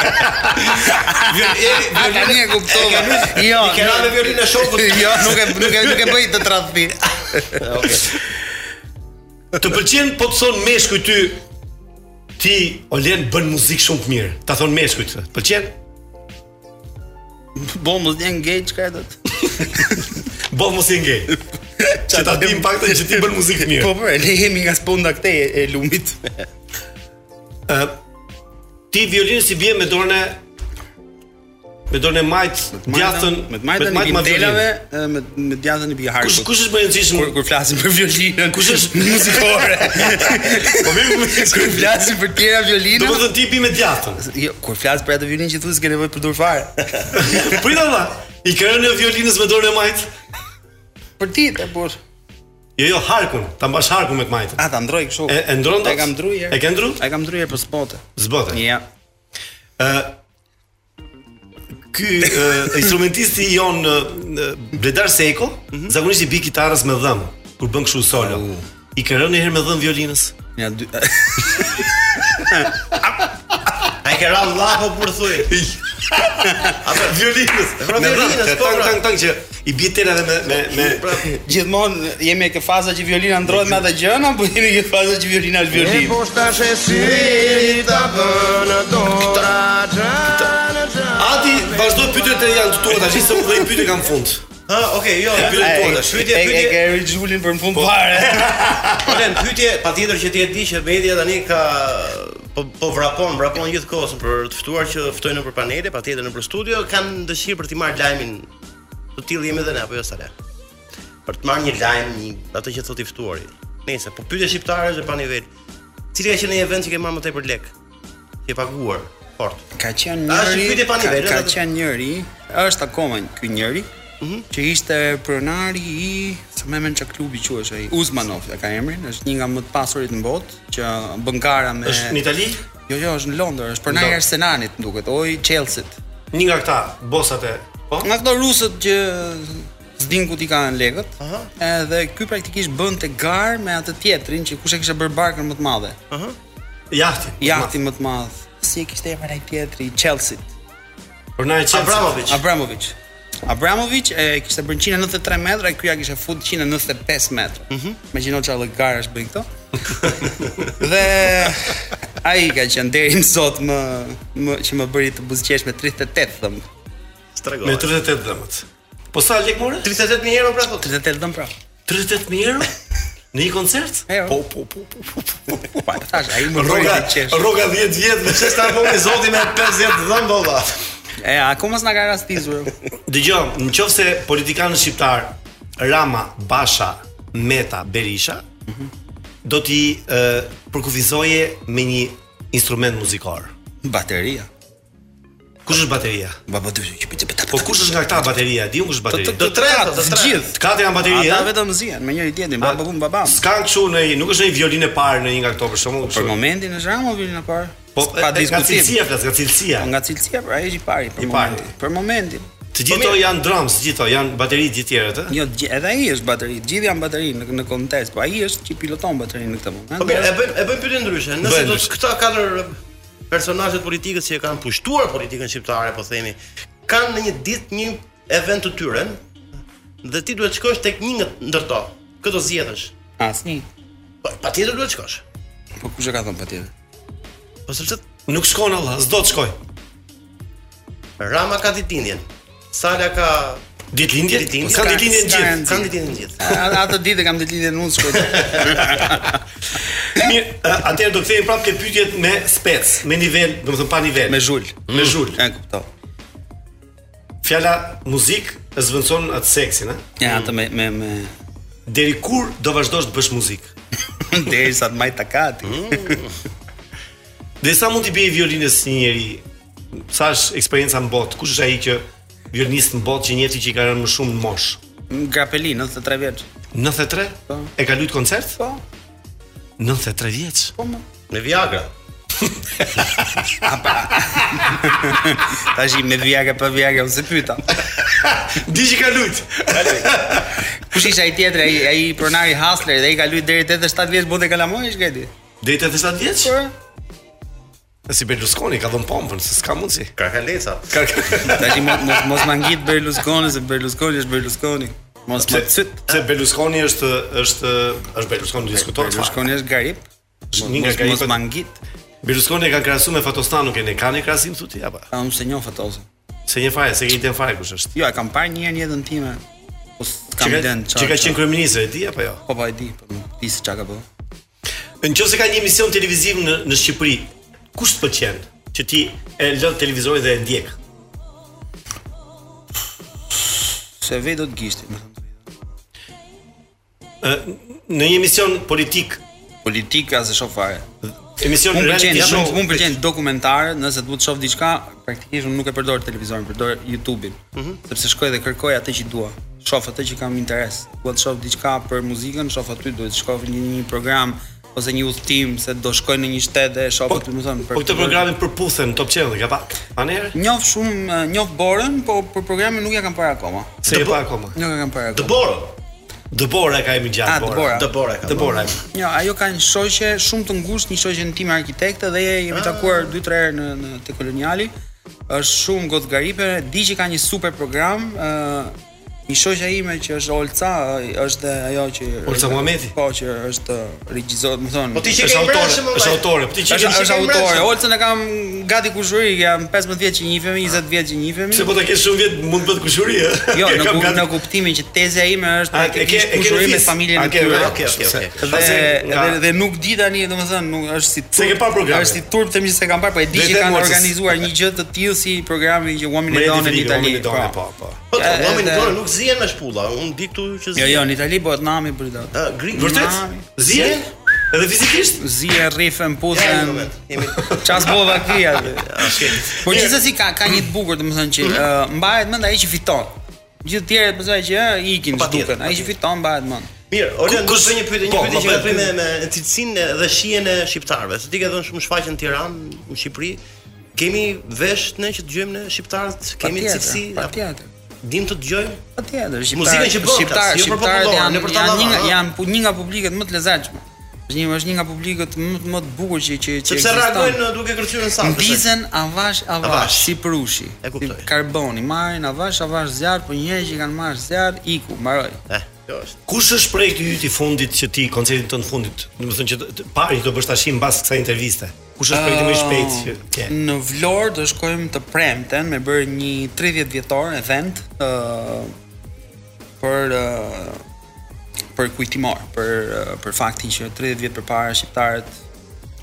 [SPEAKER 11] A tani e kuptova. Jo.
[SPEAKER 2] I ke ra me violinën e shokut.
[SPEAKER 11] Jo, nuk e nuk e nuk e bëj të tradhti.
[SPEAKER 7] Të pëlqen po të thon meshkuj ty ti Olen bën muzikë shumë të mirë. Ta thon meshkujt. Pëlqen?
[SPEAKER 11] Bo mos një ngej çka do të.
[SPEAKER 7] Bo mos i ngej. Që ta dim pak të që ti bën muzikë të mirë.
[SPEAKER 11] Po po, ne jemi nga sponda këtej e- e lumit.
[SPEAKER 7] Ë ti violin si bie me dorën e me dorën e majt, djathën,
[SPEAKER 11] me të majtën i bindelave, e, me me djathën i biharkut.
[SPEAKER 7] Kush- kush është më e rëndësishme?
[SPEAKER 11] kur kur flasim për violinën?
[SPEAKER 7] Kush është
[SPEAKER 11] muzikore?
[SPEAKER 7] Po mirë,
[SPEAKER 11] kur flasim për tjera violinën.
[SPEAKER 7] Do të thotë tipi me djathën.
[SPEAKER 11] Jo, kur flas për atë violinë që thua s'ke nevojë për dur fare.
[SPEAKER 7] Prit valla. I kërën e violinës me dorën e majt.
[SPEAKER 11] Për ti të burr.
[SPEAKER 7] Jo, jo, harkun, ta mbash harkun me të majtën.
[SPEAKER 11] A ta ndroj kështu.
[SPEAKER 7] E, e ndron dot?
[SPEAKER 11] E kam ndruar.
[SPEAKER 7] E ke ndruar?
[SPEAKER 11] E kam ndruar për spote.
[SPEAKER 7] Zbote.
[SPEAKER 11] Ja.
[SPEAKER 7] Ë Ky ë, instrumentisti jon ë, Bledar Seko,
[SPEAKER 11] Mhm.
[SPEAKER 7] zakonisht i bi kitarës me dhëm kur bën kështu solo. I ke rënë një herë me dhëm violinës?
[SPEAKER 11] Ja dy.
[SPEAKER 2] Ai ke rënë vlla po kur thuj.
[SPEAKER 7] Atë violinës.
[SPEAKER 2] pra,
[SPEAKER 7] Me dhëmë,
[SPEAKER 2] violinës,
[SPEAKER 7] të
[SPEAKER 2] po,
[SPEAKER 7] tang
[SPEAKER 2] pra.
[SPEAKER 7] tang tang që i bie telave me me me
[SPEAKER 11] Gjithmonë jemi në këtë fazë që violina ndrohet me atë gjën apo jemi në këtë fazë që violina është violinë.
[SPEAKER 14] Po shtash e syri ta bën ato
[SPEAKER 7] Ati vazhdo pyetjet e janë të tua tash se u dhe i pyetje kam fund.
[SPEAKER 2] Ha, okay, jo,
[SPEAKER 7] E,
[SPEAKER 2] pyetje
[SPEAKER 7] e,
[SPEAKER 2] po tash. Pyetje,
[SPEAKER 11] e- e-
[SPEAKER 2] pyetje.
[SPEAKER 11] e ke rrit Julin për në fund fare.
[SPEAKER 2] Po lem pyetje, patjetër që ti e di që media tani ka po po vrapon, vrapon gjithkohës për të ftuar që ftojnë nëpër panele, patjetër nëpër studio, kanë dëshirë për të marrë lajmin. Të tillë jemi edhe ne apo jo sa le. Për të marrë një lajm, një atë që thotë i ftuari. Nëse po pyetje shqiptarë është e pa nivel. Cili ka qenë një event që ke marrë më tepër lek? Që e paguar fort.
[SPEAKER 11] Ka qenë
[SPEAKER 2] A, është
[SPEAKER 11] njëri.
[SPEAKER 2] pyetje pa
[SPEAKER 11] ka-
[SPEAKER 2] nivele,
[SPEAKER 11] Ka
[SPEAKER 2] atë?
[SPEAKER 11] qenë njëri, është akoma një- ky njëri.
[SPEAKER 7] Mhm.
[SPEAKER 11] që ishte pronari i se më men çka klubi quhesh ai Uzmanov e ka emrin është një nga më të pasurit në botë që bën gara me
[SPEAKER 7] Është në Itali?
[SPEAKER 11] Jo jo është në Londër është pronari i
[SPEAKER 7] Londër.
[SPEAKER 11] Arsenalit më duket oj Chelsea-t
[SPEAKER 7] Një nga këta bosat e po
[SPEAKER 11] nga këto rusët që s'din ku ti kanë lekët. Edhe ky praktikisht bënte garë me atë tjetrin që kush e kishte bërë barkën më të madhe.
[SPEAKER 2] Aha.
[SPEAKER 7] Jahti.
[SPEAKER 11] Jahti më të madh. Si e kishte emrin ai tjetri i Chelsea-t?
[SPEAKER 7] Por na e Chelsea.
[SPEAKER 2] Abramovich.
[SPEAKER 11] Abramovic. Abramovic e kishte bërë 193 metra, ky ja kishte fut 195 metra. Mhm. Mm Imagjino çfarë lloj garash bën këto. dhe ai ka qenë deri më sot më, më që më bëri të buzqesh me 38 dhëm.
[SPEAKER 2] Strego.
[SPEAKER 7] me 38 dëmët. Po sa lek more?
[SPEAKER 2] 38000 euro
[SPEAKER 7] po.
[SPEAKER 2] pra thotë.
[SPEAKER 11] 38 dhëm pra.
[SPEAKER 7] 38000 euro? Në një koncert? Po, po, po, po, po, po,
[SPEAKER 11] po, tash, ai më bëri
[SPEAKER 7] Rroga,
[SPEAKER 11] të qesh.
[SPEAKER 7] rroga 10 vjet,
[SPEAKER 2] Pse sta po me zoti me 50 dhëm bolla.
[SPEAKER 11] E, akoma s'na ka rastisur.
[SPEAKER 7] Dëgjoj, në qoftë se politikanët shqiptar Rama, Basha, Meta, Berisha
[SPEAKER 11] Mhm.
[SPEAKER 7] do t'i ë, përkufizoje me një instrument muzikor.
[SPEAKER 11] Bateria.
[SPEAKER 7] Kush është bateria?
[SPEAKER 11] Ba ba dy që piti pita.
[SPEAKER 7] Po kush është nga këta bateria? Diun kush është bateria?
[SPEAKER 11] Të tretë, të gjithë.
[SPEAKER 7] Të katër janë bateri,
[SPEAKER 11] Ata
[SPEAKER 7] ëh?
[SPEAKER 11] vetëm zihen me njëri tjetrin, baba bum babam.
[SPEAKER 7] eh? S'ka kështu në një, nuk është një violin e parë në një nga këto për shembull.
[SPEAKER 11] Për
[SPEAKER 7] kështu.
[SPEAKER 11] momentin është Ramovil në parë.
[SPEAKER 7] Po, e-
[SPEAKER 11] pa
[SPEAKER 7] e-
[SPEAKER 11] diskutim.
[SPEAKER 7] Nga cilësia flas, nga cilësia.
[SPEAKER 11] Nga cilësia, pra ai është i pari për
[SPEAKER 7] I pari.
[SPEAKER 11] momentin. Për momentin.
[SPEAKER 7] Të
[SPEAKER 11] Po
[SPEAKER 7] gjithë to janë drums, të gjithë to janë bateri të gjithë tjerët, ëh?
[SPEAKER 11] Jo, gjë- edhe ai është bateri. të Gjithë janë bateri në në kontest, po ai është që piloton baterinë në këtë moment.
[SPEAKER 2] Po mirë, e bëjmë e bëjmë pyetje ndryshe. Nëse
[SPEAKER 11] Bëjmë
[SPEAKER 2] do
[SPEAKER 11] ndryshe.
[SPEAKER 2] të këta katër personazhet politikës që e kanë pushtuar politikën shqiptare, po themi, kanë në një ditë një event të tyre dhe ti duhet shkosh tek një nga ndër to. Këto zgjedhësh.
[SPEAKER 11] Asnjë.
[SPEAKER 2] Po patjetër duhet shkosh.
[SPEAKER 11] Po kush e ka thënë patjetër?
[SPEAKER 2] Po sepse
[SPEAKER 7] nuk shkon Allah, s'do të shkoj.
[SPEAKER 2] Rama ka ditëlindjen. Sala ka
[SPEAKER 7] Ditëlindje?
[SPEAKER 2] Ka
[SPEAKER 7] Ka ditëlindjen
[SPEAKER 2] ditëlindjen gjithë.
[SPEAKER 7] gjithë.
[SPEAKER 2] Ka ditëlindjen gjithë.
[SPEAKER 11] A- Atë ditë kam ditëlindjen unë shkoj.
[SPEAKER 7] Mirë, ë, atëherë do të kthehemi prapë ke pyetjet me spec, me nivel, domethënë pa nivel. Me
[SPEAKER 11] zhul.
[SPEAKER 7] Me zhul.
[SPEAKER 11] E kuptoj.
[SPEAKER 7] Fjala muzik e zvendëson atë seksin, ëh?
[SPEAKER 11] Ja, atë me me me
[SPEAKER 7] Deri kur do vazhdosh të bësh muzikë?
[SPEAKER 11] derisa të maj takati.
[SPEAKER 7] Dhe sa mund t'i bëjë violinës një njeri? Sa është eksperienca në botë? Kush është ai që violinist në botë që njëti që i ka rënë më shumë në mosh?
[SPEAKER 11] Grapeli 93 vjeç.
[SPEAKER 7] 93?
[SPEAKER 11] Po.
[SPEAKER 7] E ka luajt koncert?
[SPEAKER 11] Po.
[SPEAKER 7] 93 vjeç.
[SPEAKER 11] Po. më.
[SPEAKER 2] Me Viagra.
[SPEAKER 11] Tash i me Viagra pa Viagra unë se pyeta.
[SPEAKER 7] Di që ka lut.
[SPEAKER 11] Kush ishte ai tjetri, ai ai pronari Hasler dhe ai ka luajt deri 87 vjeç bote kalamoj, ish gati.
[SPEAKER 7] Deri 87 vjeç? E si Berlusconi ka dhënë pompën, se s'ka mundsi.
[SPEAKER 2] Karkaleca.
[SPEAKER 11] Tash i mo- mos mos ma ngit Berlusconi se Berlusconi është Berlusconi. Mos më
[SPEAKER 7] Se, se Berlusconi është është është Berlusconi diskuton.
[SPEAKER 11] Berlusconi është garip.
[SPEAKER 7] Është
[SPEAKER 11] Mos-
[SPEAKER 7] një nga
[SPEAKER 11] mos-
[SPEAKER 7] garipët.
[SPEAKER 11] Mos ma ngit.
[SPEAKER 7] Berlusconi e kanë krahasuar me Fatostanu, kanë kanë krahasim thotë apo?
[SPEAKER 11] A unë se njoh Fatozën.
[SPEAKER 7] Se një fare, se ke iden fare kush është.
[SPEAKER 11] Jo, e kam parë një herë në jetën time. Po s'kam
[SPEAKER 7] Që ka-
[SPEAKER 11] lënë
[SPEAKER 7] Që ka qenë kryeministër e di apo jo?
[SPEAKER 11] Po po e di, po nuk di se çka ka bërë.
[SPEAKER 7] Në qoftë se ka një emision televiziv në në Shqipëri, kush të pëlqen? Që ti e lën televizorin dhe e ndjek.
[SPEAKER 11] Se vej do të gishti, më thënë.
[SPEAKER 7] Në një emision politik,
[SPEAKER 11] politika se shoh fare.
[SPEAKER 7] Emision
[SPEAKER 11] Unë
[SPEAKER 7] reality
[SPEAKER 11] pëlqen, ja,
[SPEAKER 7] show.
[SPEAKER 11] unë pëlqen dokumentare, nëse duhet të shoh diçka, praktikisht unë nuk e përdor televizorin, përdor YouTube-in.
[SPEAKER 7] Mhm.
[SPEAKER 11] Sepse shkoj dhe kërkoj atë që dua. Shoh atë që kam interes. Dua të shoh diçka për muzikën, shoh aty duhet të shkoj në një, një program ose një udhtim se do shkoj në një shtet dhe shoh aty, më thon, për
[SPEAKER 7] po këtë programin përputhen Top Channel, ka pak. Aner,
[SPEAKER 11] Njoh shumë, eh, njoh Borën, po për programin nuk ja kam parë akoma.
[SPEAKER 7] se e pa akoma.
[SPEAKER 11] Nuk e kam parë akoma.
[SPEAKER 7] Dëborë. Dëbora ka emri
[SPEAKER 11] Ah,
[SPEAKER 7] gjatë.
[SPEAKER 11] Dëbora.
[SPEAKER 7] Dëbora ka. Dëbora.
[SPEAKER 11] Jo, ajo ka një shoqe shumë të ngushtë, një shoqe në time arkitekte dhe jemi takuar 2-3 herë në, në te koloniali. Është shumë gotgaripe, di që ka një super program, ë një shoqja ime që është Olca, ë, është dhe ajo që
[SPEAKER 7] Olca Muhameti?
[SPEAKER 11] Po, që është ë, regjisor, më thonë.
[SPEAKER 7] Po ti që ke Është i autore, mbrëmshëm, është vllai. autore, po ti që ke-
[SPEAKER 11] Është-
[SPEAKER 7] që ke
[SPEAKER 11] është autore.
[SPEAKER 7] mbrëmshëm.
[SPEAKER 11] Olcën e kam gati kushëri, jam 15 vjeç që njihemi, 20 vjeç që njihemi.
[SPEAKER 7] Se po ta kesh shumë vjet mund të bëhet kushëri, ë.
[SPEAKER 11] Jo, në,
[SPEAKER 7] Kam
[SPEAKER 11] gu-
[SPEAKER 7] gati-
[SPEAKER 11] në kuptimin që teza ime është
[SPEAKER 7] A, e ke-
[SPEAKER 11] praktikisht
[SPEAKER 7] e ke në
[SPEAKER 11] kushëri me
[SPEAKER 7] fis?
[SPEAKER 11] familjen
[SPEAKER 7] A,
[SPEAKER 11] e
[SPEAKER 7] ke-
[SPEAKER 11] tyre.
[SPEAKER 7] okay, okay, okay.
[SPEAKER 11] Dhe,
[SPEAKER 7] Pse nga-
[SPEAKER 11] dhe, dhe nuk di tani, domethënë, nuk është si turp.
[SPEAKER 7] Se ke parë programin.
[SPEAKER 11] Është si turp të më se kam parë, po e di
[SPEAKER 7] Dhe
[SPEAKER 11] që
[SPEAKER 7] dhe
[SPEAKER 11] kanë
[SPEAKER 7] mua se s-
[SPEAKER 11] organizuar një gjë të tillë si programi që Women
[SPEAKER 7] Me
[SPEAKER 11] in
[SPEAKER 7] Edi
[SPEAKER 11] Dawn në
[SPEAKER 7] Filipi,
[SPEAKER 11] Itali. pra.
[SPEAKER 7] Women in Dawn, po, po.
[SPEAKER 2] Po, të
[SPEAKER 11] E,
[SPEAKER 2] vëmin
[SPEAKER 11] dhe-
[SPEAKER 2] dorë nuk zihen me shpulla. Unë di këtu që
[SPEAKER 11] Jo, jo, në Itali bëhet nami për datë.
[SPEAKER 7] Ah,
[SPEAKER 2] Ë, gri.
[SPEAKER 11] Vërtet?
[SPEAKER 7] Zihen? Edhe fizikisht?
[SPEAKER 11] Zihen, rrifen, puthen.
[SPEAKER 2] Jemi
[SPEAKER 11] Ças bova kia.
[SPEAKER 7] Ah,
[SPEAKER 11] Po
[SPEAKER 2] Mirë.
[SPEAKER 11] gjithsesi ka ka një të bukur, domethënë
[SPEAKER 7] Mhm.
[SPEAKER 11] që ë, mbahet mend ai që fiton. Gjithë tjerët besoj që ë, ikin
[SPEAKER 2] Patjetër,
[SPEAKER 11] zhduken. Ai që fiton mbahet mend.
[SPEAKER 2] Mirë, Olga, do të bëj një pyetje, një
[SPEAKER 11] Po,
[SPEAKER 2] pyetje
[SPEAKER 11] ma
[SPEAKER 2] që ka
[SPEAKER 11] bëj.
[SPEAKER 2] bëj me me cilësinë dhe shijen e shqiptarëve. Se ti ke dhënë shumë shfaqje në Tiranë, në Shqipëri. Kemi vesh ne që dëgjojmë ne shqiptarët, kemi
[SPEAKER 11] Patjetër,
[SPEAKER 2] cilësi.
[SPEAKER 11] patjetër.
[SPEAKER 2] Dim të dëgjojmë?
[SPEAKER 11] Patjetër,
[SPEAKER 2] Muzikën që bën,
[SPEAKER 11] shqiptar,
[SPEAKER 2] jo për
[SPEAKER 11] shqiptarët
[SPEAKER 2] popullore,
[SPEAKER 11] janë
[SPEAKER 2] ne për
[SPEAKER 11] janë një nga
[SPEAKER 2] tallava.
[SPEAKER 11] janë pu- një nga publikët më të lezetshme. Është një është një nga publikët më më të bukur që që që
[SPEAKER 2] Sepse reagojnë uh, duke kërcyer në sallë.
[SPEAKER 11] Ndizen avash avash
[SPEAKER 2] Avash.
[SPEAKER 11] si prushi.
[SPEAKER 2] E kuptoj.
[SPEAKER 11] Si karboni, marrin avash avash zjarr, po njerëz që kanë marrë zjarr iku, mbaroi.
[SPEAKER 2] Eh, kjo është.
[SPEAKER 7] Kush është projekti yt i fundit që ti koncertin tënd fundit, domethënë që të- të- pari që do bësh tash mbas kësaj interviste? Kush është projekti më i shpejt që ke?
[SPEAKER 11] Ehm, Në Vlorë do shkojmë të premten me bërë një 30 vjetor event ë për ë, për kujtimor, për ë, për faktin që 30 vjet përpara shqiptarët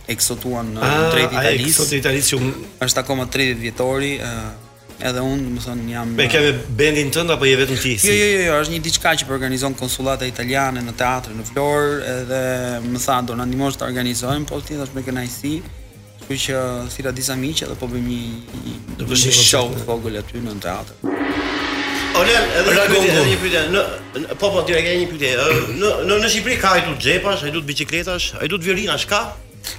[SPEAKER 11] eksotuan në
[SPEAKER 7] Ah,
[SPEAKER 11] drejt
[SPEAKER 7] ai
[SPEAKER 11] Italisë.
[SPEAKER 7] eksotu Italisë që
[SPEAKER 11] është akoma 30 vjetori, ë edhe unë, do të thonë, jam
[SPEAKER 7] Me ke me bendin tënd apo je vetëm ti?
[SPEAKER 11] Jo, jo, jo, jo, është një diçka që po organizon konsullata italiane në teatrin në Vlorë edhe më tha do na ndihmosh të organizojmë, po ti thash me kënaqësi. Kështu që thira disa miq edhe po bëjmë një një,
[SPEAKER 7] Do
[SPEAKER 11] një,
[SPEAKER 7] bësh një
[SPEAKER 11] show
[SPEAKER 7] koncert.
[SPEAKER 11] të vogël aty në teatr.
[SPEAKER 2] Olen, edhe një
[SPEAKER 7] Ragon
[SPEAKER 2] pyetje, edhe
[SPEAKER 7] gun.
[SPEAKER 2] një pyetje. Në, në po po, direkt edhe një pyetje. Ë, Në në në Shqipëri ka ai tut xhepash, ai tut biçikletash, ai tut virinash ka?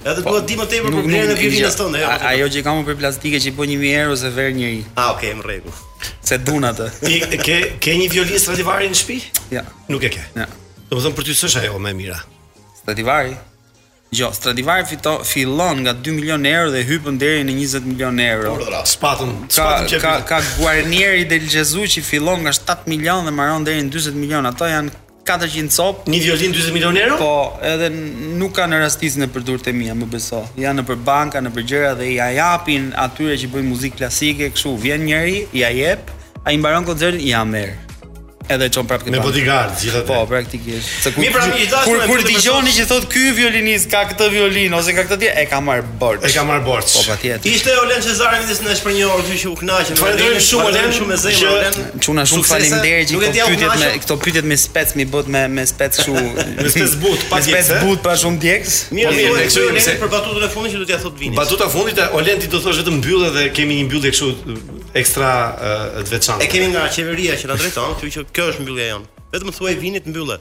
[SPEAKER 2] Edhe
[SPEAKER 7] Po.
[SPEAKER 2] duhet Po, di më tepër për vlerën e po virinës tënde.
[SPEAKER 11] A- Ajo që kam unë për plastike që i bën 1000 euro se ver njëri.
[SPEAKER 2] Ah, okay, në rregull.
[SPEAKER 11] Se dun atë.
[SPEAKER 7] Ti ke ke një violin Stradivari në shtëpi?
[SPEAKER 11] Ja.
[SPEAKER 7] Nuk e ke.
[SPEAKER 11] Ja.
[SPEAKER 7] Domethënë për ty s'është ajo më e mira.
[SPEAKER 11] Stradivari. Jo, Stradivari fito, fillon nga 2 milion euro dhe hypën deri në 20 milion euro.
[SPEAKER 7] Spatën,
[SPEAKER 11] Ka
[SPEAKER 7] spatën që
[SPEAKER 11] ka ka Guarnieri del Gesù që fillon nga 7 milion dhe mbaron deri në 40 milion. Ato janë 400 cop.
[SPEAKER 7] Një violin 40 milion euro?
[SPEAKER 11] Po, edhe n- nuk kanë rastisën e përdurët e mia, më beso. Janë nëpër banka, nëpër gjëra dhe ja japin atyre që bëjnë muzikë klasike, kështu vjen njëri, ja jep, ai mbaron koncertin, ja merr. Edhe e çon prapë këtë.
[SPEAKER 7] Me
[SPEAKER 11] bankë.
[SPEAKER 7] bodyguard, gjithatë.
[SPEAKER 11] Po, praktikisht. Se kur
[SPEAKER 7] Mi pra, mi, dashur,
[SPEAKER 11] kur,
[SPEAKER 7] me
[SPEAKER 11] kur
[SPEAKER 7] pyetje
[SPEAKER 11] dëgjoni që thot ky violinist ka këtë violin ose ka këtë tje, e ka marr borx.
[SPEAKER 7] E ka marr borx.
[SPEAKER 11] Po, patjetër.
[SPEAKER 2] Ishte Olen Cezari midis nesh për një orë, kështu që u kënaqëm.
[SPEAKER 7] Të falenderojmë
[SPEAKER 2] Olen,
[SPEAKER 7] shumë, Olen,
[SPEAKER 2] falenderojmë shumë me zemër
[SPEAKER 7] që-
[SPEAKER 2] Olen.
[SPEAKER 11] Çuna shumë
[SPEAKER 2] Suksese.
[SPEAKER 11] faleminderit që
[SPEAKER 2] Nuk e di,
[SPEAKER 11] këto
[SPEAKER 2] a u
[SPEAKER 11] pyetjet me
[SPEAKER 2] kënaqëm?
[SPEAKER 11] këto pyetjet me spec mi bët me me spec kështu me
[SPEAKER 7] spec but, pa
[SPEAKER 11] me spec
[SPEAKER 7] djegës, e?
[SPEAKER 11] but pa shumë djegës.
[SPEAKER 2] Mirë,
[SPEAKER 7] Po, mirë,
[SPEAKER 2] mirë,
[SPEAKER 7] ne
[SPEAKER 2] kështu
[SPEAKER 7] kështu jemi
[SPEAKER 2] ne
[SPEAKER 7] se-
[SPEAKER 2] për batutën e fundit që do t'ia thot Vini.
[SPEAKER 7] Batuta e fundit, Olen ti do thosh vetëm mbyllje dhe kemi një mbyllje kështu ekstra ë, të veçantë.
[SPEAKER 2] E kemi nga qeveria që na drejton, kështu që kjo është mbyllja jonë. Vetëm thuaj Vinit mbyllë.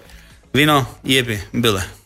[SPEAKER 11] Vino, jepi, mbyllë.